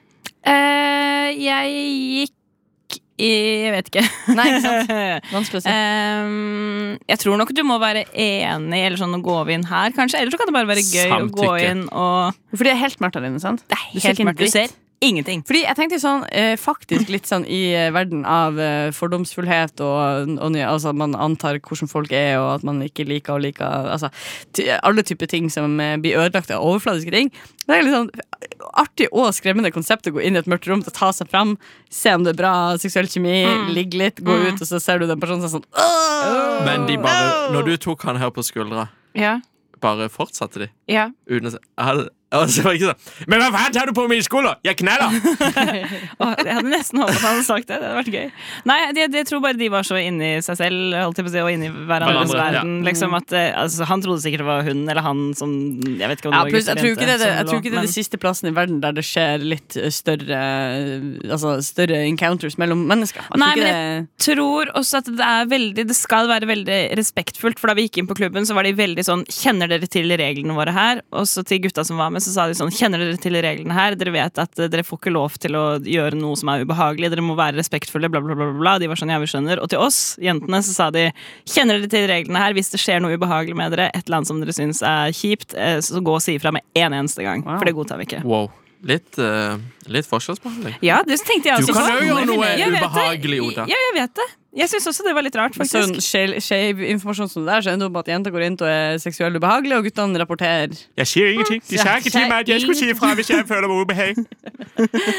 Eh, jeg gikk i Jeg vet ikke.
Nei, ikke sant? Vanskelig å si.
Ehm, jeg tror nok du må være enig, eller sånn nå går vi inn her, kanskje. Eller så kan det bare være gøy å gå
Samtykke.
inn og
For det er helt mørkt der inne, sant?
Det er
Du ser ikke en
mørkt. Du
dritt.
ser ingenting.
Fordi jeg tenkte jo sånn, eh, faktisk litt sånn i eh, verden av eh, fordomsfullhet og, og nye, altså at man antar hvordan folk er, og at man ikke liker og liker altså, ty, alle typer ting som eh, blir ødelagt av overfladiske ting. Det er litt sånn artig og skremmende konsept å gå inn i et mørkt rom, ta seg fram, se om det er bra seksuell kjemi, ligge litt, gå ut, og så ser du den personen som er sånn Åh!
Men de bare, når du tok han her på skuldra,
Ja,
bare fortsatte de?
ja.
Uten å si jeg hadde, og så var det ikke sånn Men hva faen tar du på med i skolen? Jeg kneller!
Åh, jeg hadde nesten håpet han hadde sagt det. Det hadde vært gøy. Nei, jeg, jeg tror bare de var så inni seg selv holdt jeg på å si, og inni hverandres
Hverandre, ja. Mm.
verden. Liksom, at, eh, altså, han trodde sikkert det var hun eller han som Jeg vet ikke om det
Ja,
var
pluss,
gutter
jeg
eller
tror ikke det er,
jenter
det- jeg tror
som lå,
ikke det er
men-
den siste plassen i verden der det skjer litt eh, større eh, Altså større encounters mellom mennesker. Jeg tror
Nei,
ikke
men
det-
tror også at det er veldig Det skal være veldig respektfullt, for da vi gikk inn på klubben, så var de veldig sånn Kjenner dere til reglene våre her? Og så til gutta som var med, så sa de sånn Kjenner dere til reglene her? Dere vet at eh, dere får ikke lov til å gjøre noe som er ubehagelig. Dere må være respektfulle, bla, bla, bla. bla, bla. De var sånn, ja, vi skjønner. Og til oss, jentene, så sa de Kjenner dere til reglene her? Hvis det skjer noe ubehagelig med dere, et eller annet som dere syns er kjipt, eh, så gå og si ifra med en eneste gang. For det godtar vi ikke.
Wow. Litt, eh, litt forskjellsbehandling.
Ja, det tenkte jeg
Du
også
kan
på.
jo gjøre noe
Jeg vet det.
ubehagelig, Oda.
Ja, jeg vet det. Jeg syns også det var litt rart, faktisk.
Sånn skjel- skeiv informasjon som det der, så ender det opp med at jenter går inn og er seksuelt ubehagelige, og guttene rapporterer.
Jeg sier ingenting. De sa ikke til meg at jeg skulle si ifra hvis jeg føler meg ubehag.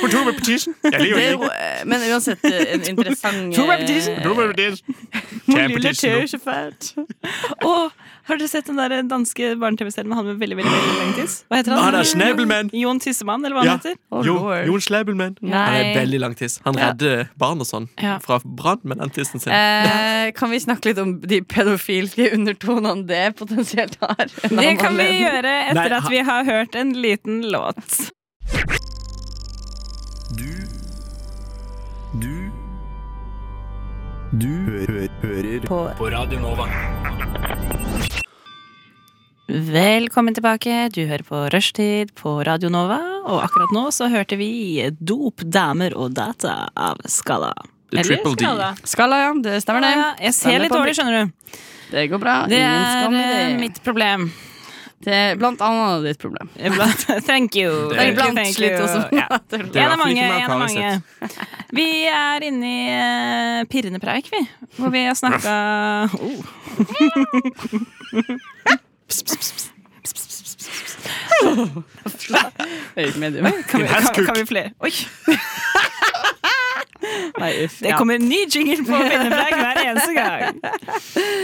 Hun tok meg på tissen. Jeg
Det
lever
er
ikke.
jo, eh, men uansett eh, en interessant
Tok meg på
eh,
tissen. Tok meg på tissen. Ta på tissen nå.
Åh, har dere sett den der danske barne-TV-serien med han med veldig, veldig, veldig lang tiss? Hva heter han?
Han er snabelmann!
Jon Tissemann, eller hva han
Ja.
heter?
Oh,
Jo,
lord.
Jon Snabelmann. Han er
Nei.
veldig lang tiss. Han redder barn og sånn
Ja.
fra brann med den tissen sin.
Eh, kan vi snakke litt om de pedofile undertonene det potensielt har? En
Det
annen
kan vi
anledning.
gjøre
Nei,
etter at
ha-
vi har hørt en liten låt. Velkommen tilbake. Du hører på Rushtid på Radio Nova. Og akkurat nå så hørte vi Dop, damer og data av Skala.
The Triple D.
Skala, ja. Det stemmer,
Ja, ja.
det.
Jeg ser litt dårlig, skjønner du.
Det går bra.
Det
Ingen
er
skam i
eh,
det.
mitt problem.
Det er blant annet ditt problem.
Iblant. Thank you.
Det er
Thank you,
iblant
thank
litt
you.
også.
Ja.
Det er
En av
derfor ikke
mange.
vi har Kari
En av mange. Vi er inne i eh, pirrende preik, vi. Hvor vi har snakka oh.
Det er ikke medium.
kan, vi,
Din hestkuk.
kan, kan vi flere? Oi.
Nei, uff.
Det
ja.
kommer en ny jingle på Pinnepreik hver eneste gang.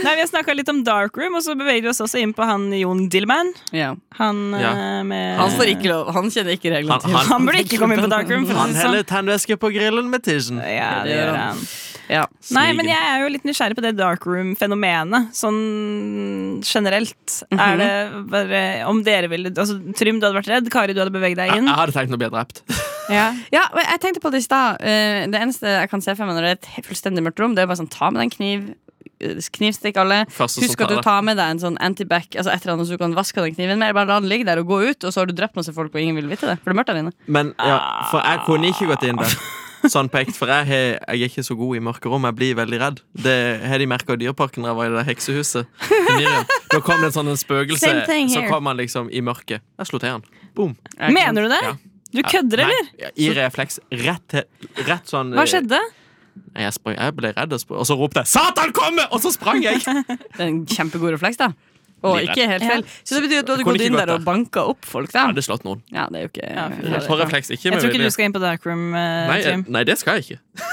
Nei, Vi har snakka litt om Dark Room, og så beveger vi oss også inn på han Jon Dillman.
Ja.
Han
Ja.
eh, med
Han får ikke lov. Han kjenner ikke reglene
Han-
til.
han-
Han burde ikke komme inn på Dark Room. For å
Han
si det sånn.
heller tannvæske på grillen med tissen.
Ja, det gjør han.
Ja.
Nei, men
Snigen.
jeg er jo litt nysgjerrig på det dark room-fenomenet. Sånn generelt. Er det bare Om dere ville altså, Trym, du hadde vært redd. Kari, du hadde beveget deg
Jeg,
inn.
jeg hadde tenkt å bli drept.
Ja.
Ja, men jeg tenkte på det i stad. Eh, Det eneste jeg kan se for meg når det er et he- fullstendig mørkt rom, det er bare sånn ta med deg en kniv. eh, Knivstikk alle.
Første som
Husk at
tar
du
det.
tar med deg en sånn antibac, altså et eller annet så du kan vaske av den kniven mer. Bare la den ligge der og gå ut, og så har du drept masse folk, og ingen vil vite det. For det er mørkt der inne.
Men ja, For jeg kunne ikke gått inn der. Sånn på ekte, For jeg, har- jeg er ikke så god i mørke rom. Jeg blir veldig redd. Det har de merka i Dyreparken da jeg var i det heksehuset. i Miriam. Da kom det en sånn en
Same
spøkelse.
thing
Så
here.
kom han liksom i mørket. Jeg slo til han. Boom.
Mener du det?
Ja.
Du kødder, eller?
Nei, I refleks. Rett, til- rett sånn
Hva skjedde?
Nei, Jeg, sprang, jeg ble redd, og, spr- og så ropte jeg 'Satan kommer!' Og så sprang jeg!
Det er en kjempegod refleks, da. Og
Livredd.
ikke helt feil. Så det betyr at du hadde
Kunne
gått
ikke
inn
gått
der og
der.
banka opp folk, da.
Jeg hadde slått noen.
Ja, det er jo ikke Ah,
Ja, fy
På refleks, ikke
Jeg
med
tror ikke
vilje.
du skal inn på dark room,
Nei,
eh,
jeg-
Trym.
nei, det skal jeg ikke.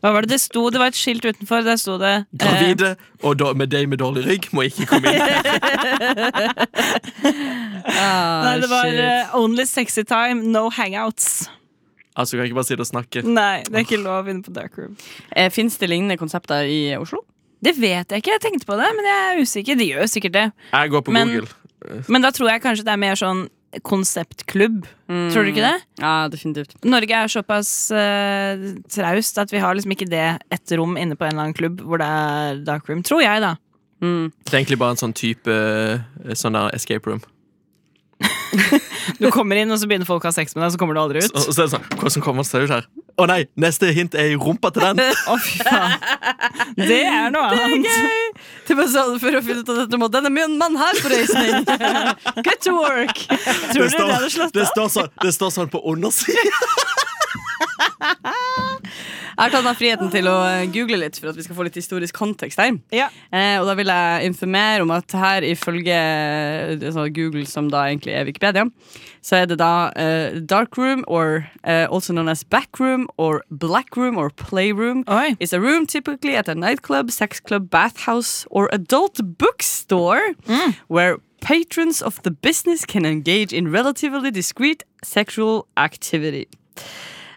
Hva var det det sto? Det var et skilt utenfor. Der sto det eh,
Gravide og da, med deg med dårlig rygg må ikke komme inn.
Ah,
Nei, det var
shit.
eh, Only sexy time, no hangouts.
Altså, kan jeg ikke bare sitte og snakke.
Nei, det er ikke lov inne på dark room.
Eh, Fins det lignende konsepter i Oslo?
Det vet jeg ikke. Jeg tenkte på det, men jeg er usikker. De gjør jo sikkert det.
Jeg går på
Men-
Google.
Men da tror jeg kanskje det er mer sånn konseptklubb.
Mm.
Tror du ikke det?
Ja, definitivt.
Norge er såpass eh, traust at vi har liksom ikke det ett rom inne på en eller annen klubb hvor det er dark room. Tror jeg, da.
Det er egentlig bare en sånn type eh, sånn der escape room.
Du kommer inn, og så begynner folk å ha sex med deg, og så kommer du aldri ut.
Og og så er det sånn, hvordan kommer man seg ut her? Å nei, neste hint er i rumpa til den!
Å, fy faen. Det er noe annet.
Det var sånn for å finne ut at dette må denne min mann her på reisning. Good to work.
Tror dere det hadde slått
det står sånn, det står sånn på undersiden.
Jeg har tatt meg friheten til å eh, google litt for at vi skal få litt historisk kontekst her.
Ja.
Eh, og da vil jeg informere om at her ifølge eh, altså Google, som da egentlig er Wikipedia, så er det da eh, dark room, or eh, also known as back room, or black room, or playroom.
Oi.
Is a room typically at a nightclub, sex club, bathhouse, or adult bookstore
Mm.
where patrons of the business can engage in relatively discreet sexual activity.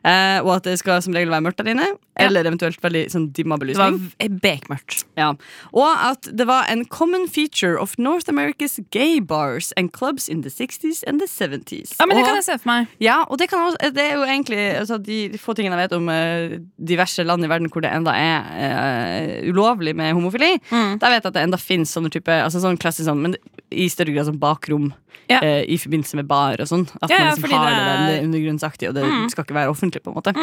Eh, og at det skal som regel være mørkt der inne, eller eventuelt veldig sånn dimma
Det var
belysning.
v- bekmørkt.
Ja. Og at det var en common feature of North America's gay bars and clubs in the 60s and the 70s.
Ja, men det
Og-
kan jeg se for meg.
ja, og det, kan også, det er jo egentlig altså, de få tingene jeg vet om eh, diverse land i verden hvor det enda er eh, ulovlig med homofili.
Mm.
Der vet jeg at det enda finnes sånne type altså, sånn klassisk sånn, men i større grad sånn bakrom
Ja.
eh, i forbindelse med bar og sånn. At
Ja,
man
ja,
liksom
fordi
har
det
det, der, det
er- Mm.
er undergrunnsaktig, og det skal ikke være offentlig, på en måte.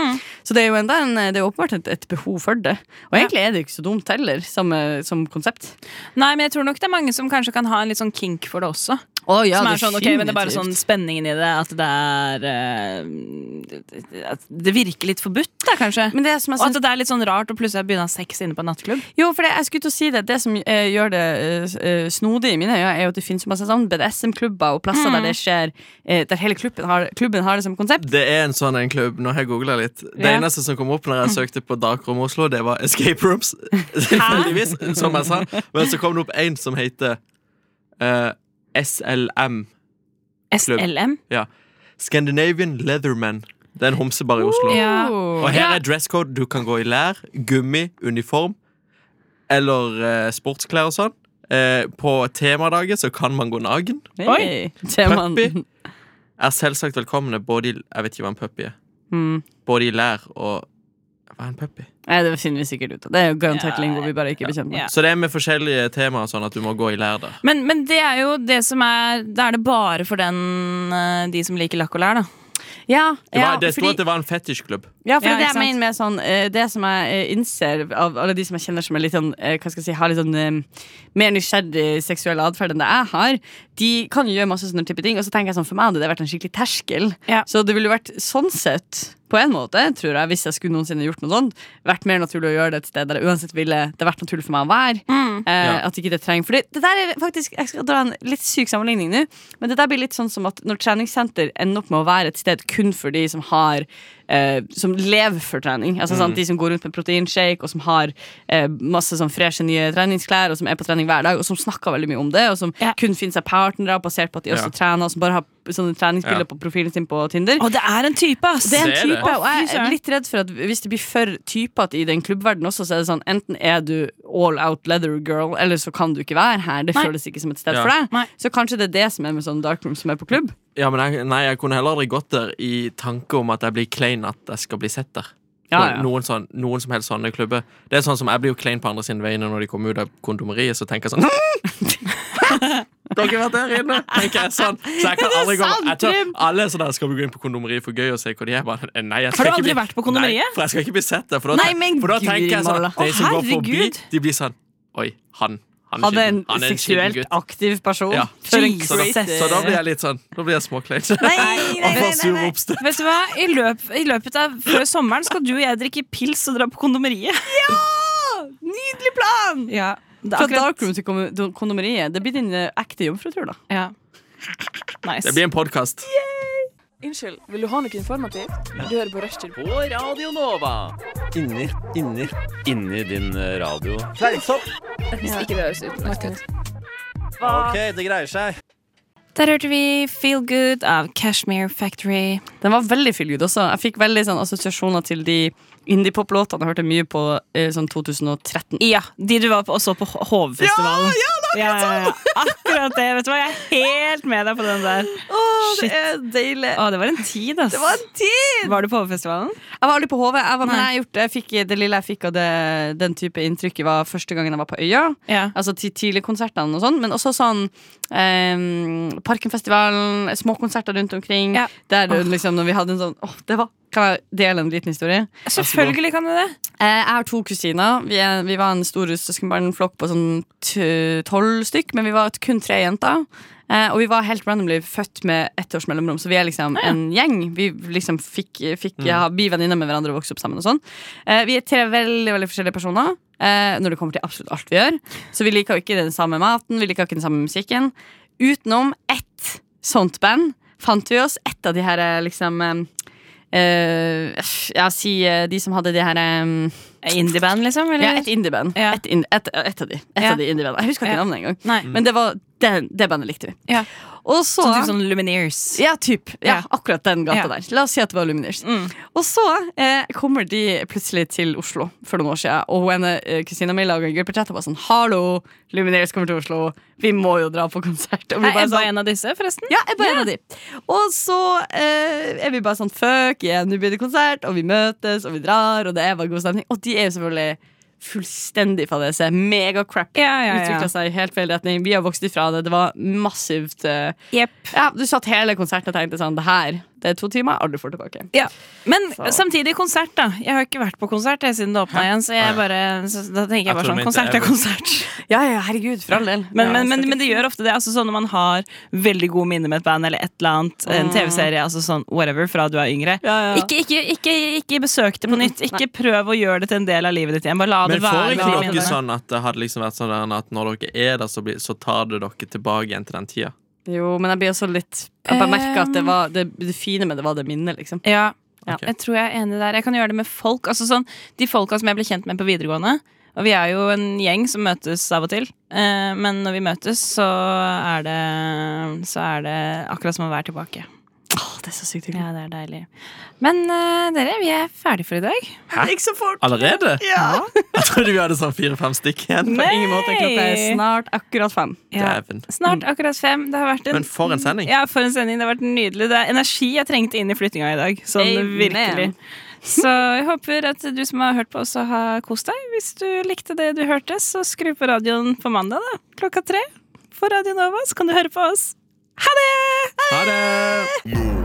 Så det er jo enda en, eh, det er jo åpenbart et, et behov for det. Og egentlig er det ikke så dumt heller, som, eh, som konsept.
Nei, men jeg tror nok det er mange som kanskje kan ha en litt sånn kink for det også. som er sånn, ok, men det er bare sånn spenningen i det, at det er eh, At det virker litt forbudt, da, kanskje.
Men det som jeg
og
synes
at det er litt sånn rart å plutselig begynne å ha sex inne på en nattklubb.
Jo, for det, jeg skulle til å si det Det som eh, gjør det eh, snodig i mine øyne, er jo at det finnes så masse sånn BDSM-klubber og plasser der det skjer eh, Der hele klubben har, klubben har det som konsept.
Det er en sånn en klubb. Nå har jeg googla litt. Det
Ja.
eneste som kom opp når jeg søkte på Darkrom Oslo, det var escape rooms. Tilfeldigvis, som jeg sa. Men så kom det opp en som heter eh, SLM.
SLM.
Ja. Scandinavian Leatherman. Det er en homsebar i Oslo.
Ja.
Og her
Ja.
er dresscode. Du kan gå i lær, gummi, uniform eller eh, sportsklær og sånn. Eh, på temadager så kan man gå nagen.
Hey, temaen.
Puppy er selvsagt velkomne både i Jeg vet ikke hva en puppy er.
Mm.
Både i lær og Hva er en puppy?
Nei, det finner vi sikkert ut av. Det er jo garantert
Ja,
lingo vi bare ikke er bekjent med.
ja.
Så det er med forskjellige temaer, sånn at du må gå i lær der.
Men, men det er jo det som er Da er det bare for den, eh, de som liker lakk og lær, da.
Ja,
Det, var,
ja,
det sto
fordi-
at det var en fetisjklubb.
Ja, for det
Ja,
er
ikke
det jeg
sant?
mener med sånn eh, Det som jeg eh, innser av alle de som jeg kjenner som er litt sånn eh, Hva skal jeg si, har litt sånn eh, mer nysgjerrig seksuell atferd enn det jeg har, de kan jo gjøre masse sånne type ting. Og så tenker jeg sånn, for meg hadde det vært en skikkelig terskel.
Ja.
Så det ville jo vært sånn sett, på en måte, tror jeg, hvis jeg skulle noensinne gjort noe sånt, vært mer naturlig å gjøre det et sted der det uansett ville det vært naturlig for meg å være.
Mm.
Eh,
Ja.
At ikke det trenger For det, det der er faktisk Jeg skal dra en litt syk sammenligning nå, men det der blir litt sånn som at når treningssenter ender opp med å være et sted kun for de som har eh, som lever for trening. Altså
Mm.
sant, De som går rundt med proteinshake, og som har eh, masse sånn freshe nye treningsklær, og som er på trening hver dag, og som snakker veldig mye om det, og som
Ja.
kun finner seg partnere basert på at de også
Ja.
trener, og som bare har sånne treningsbilder
Ja.
på profilen sin på Tinder.
Og det er en type, ass!
Det er en
Det er det.
type, og jeg
Fy
er
søren.
litt redd for at hvis det blir for typete i den klubbverdenen også, så er det sånn enten er du all out leather girl, eller så kan du ikke være her. Det
Nei.
føles ikke som et sted
Ja.
for deg.
Nei.
Så kanskje det er det som er med sånn dark room som er på klubb.
Ja, men jeg, nei, jeg kunne heller aldri gått der i tanke om at jeg blir klein at jeg skal bli sett der. På
Ja, ja.
Noen, sånn, noen som helst sånne klubber. Det er sånn som Jeg blir jo klein på andre sine vegne når de kommer ut av kondomeriet. Så tenker jeg sånn "Hm!" Dere har vært der inne! Tenker jeg sånn. Så jeg kan aldri gå jeg tør, Alle er sånn der, skal vi gå inn på kondomeriet for gøy og se hvor de er. Bare, nei, jeg skal
Har du
ikke
aldri
bli-
vært på kondomeriet?
Nei, for jeg skal ikke bli sett der. For da,
Nei, men
for da tenker jeg sånn
Guri malla.
De som
Å,
går forbi,
herregud.
de blir sånn Oi, han. Han er,
Han er en
skitten. Han er en skitten
seksuelt
gutt.
aktiv person.
Ja.
For en
Så da,
crazy-
så da blir jeg litt sånn Da blir jeg småklein. Nei, nei,
Vet du hva? I, løp, I løpet av før sommeren skal du og jeg drikke pils og dra på kondomeriet.
Nydelig plan!
Ja, det er
Fra
akkurat
dark room til kom- til kondomeriet. Det blir din eh, ekte jomfrutur, da.
ja. Nice.
Det blir en podkast.
Unnskyld, vil du ha noe informativt? Du hører på Rushtid.
På Radio Nova.
Inni, inni.
Inni din eh, radio.
Fleinsopp.
Hvis ikke det høres ut
OK, det greier seg.
Der hørte vi Feel Good av Cashmere Factory.
Den var veldig feel good også. Jeg fikk veldig sånn assosiasjoner til de indie-pop-låtene jeg hørte mye på eh, sånn 2013.
Ja, De du var på og så på H- Hovefestivalen. Ja, ja, det er akkurat sånn! akkurat det. Vet du hva, Jeg er helt med deg på den der. Shit.
er deilig.
Å, det var en tid, ass.
var en tid!
Var du på Hovefestivalen?
Jeg var aldri på HV. Jeg var, men jeg har gjort, det. jeg fikk, eh, det lille jeg fikk av det, den type inntrykk, var første gangen jeg var på Øya.
Ja.
Altså til tidligkonsertene og sånn, men også sånn eh, Parkenfestivalen, småkonserter rundt omkring.
Ja.
Der liksom når vi hadde en sånn Åh, det var Kan jeg dele en liten historie?
Selvfølgelig kan du det.
Eh, Jeg har to kusiner. Vi, er, vi var en stor søskenbarnflokk på sånn t- tolv stykk, men vi var kun tre jenter. Eh, og vi var helt randomly født med ett års mellomrom, så vi er liksom en gjeng. Vi liksom fikk, fikk ja, bli venninner med hverandre og vokse opp sammen og sånn. Eh, vi er tre veldig, veldig forskjellige personer eh, når det kommer til absolutt alt vi gjør. Så vi liker jo ikke den samme maten, vi liker ikke den samme musikken. Utenom ett sånt band fant vi oss ett av de her eh, liksom eh, eh, Ja, si eh, de som hadde de her eh,
Indieband, liksom? Eller?
ja, et indieband.
Ja.
Et, in, et, et av de. Et
Ja.
av de indiebandene. Jeg husker ikke
Ja.
navnet engang.
Nei.
Men det var det, det bandet likte vi.
Ja.
Og så
Mm. Sånn typ sånn Lumineers.
ja, typ. Ja,
Ja.
Akkurat den gata
Ja. Mm.
der. La oss si at det var Lumineers. Og så eh, kommer de plutselig til Oslo for noen år siden, og hun ene eh, kusina mi lager en gruppechatt og bare sånn Hallo, Lumineers kommer til Oslo, vi må jo dra på konsert. Og vi
Er
bare
Ebba
sånn-
en av disse, forresten?
ja, jeg var en av de. Og så eh, er vi bare sånn fuck, yeah, nå blir det konsert, og vi møtes, og vi drar, og det er bare god stemning. Og de er jo selvfølgelig fullstendig fadese. Mega crap.
Ja, ja, ja.
Utvikla seg i helt feil retning. Vi har vokst ifra det. Det var massivt eh,
Jepp.
Ja, Du satt hele konserten og tenkte sånn Det her, det er to timer, aldri får tilbake.
Ja. Men
Så-
samtidig konsert, da. Jeg har ikke vært på konsert jeg, siden det åpna igjen. Så, jeg bare, så da tenker jeg bare
tror
sånn
de mente
Konsert er
Everett.
konsert.
Ja, ja, herregud, for all del.
Men, men, men, men det gjør ofte det. Altså, sånn når man har veldig gode minner med et band eller et eller annet, en TV-serie, altså sånn whatever, fra du er yngre.
Ja, ja.
Ikke, ikke, ikke, ikke besøk det på nytt. Ikke prøv å gjøre det til en del av livet ditt igjen. Bare la det
Men får
være.
ikke
de
dere
minnene.
sånn at det hadde liksom vært sånn der at når dere er der, så, blir, så tar det dere tilbake igjen til den tida?
Jo, men jeg blir også litt Jeg bare merker at det, var, det, det fine med det var det minnet, liksom.
Ja.
Ok.
Jeg tror jeg er enig der. Jeg kan gjøre det med folk. Altså sånn, De folka som jeg ble kjent med på videregående. Og vi er jo en gjeng som møtes av og til. Eh, men når vi møtes, så er det Så er det akkurat som å være tilbake.
Åh, det er så sykt hyggelig.
Ja, det er deilig. Men eh, dere, vi er ferdig for i dag.
Allerede? Ja. Jeg trodde vi hadde sånn fire-fem stykk igjen.
På ingen måte. Klokka er
Nei!
snart akkurat fem.
Ja.
Dæven. Mm.
Snart akkurat fem. Det har vært en
Men for en sending.
Ja, for en sending. Det har vært nydelig. Det er energi jeg trengte inn i flyttinga i dag. Sånn
Amen.
virkelig. Så jeg håper at du som har hørt på, også har kost deg. Hvis du likte det du hørte, så skru på radioen på mandag da, klokka tre. For Radio Nova, så kan du høre på oss. Ha det!
Ha det!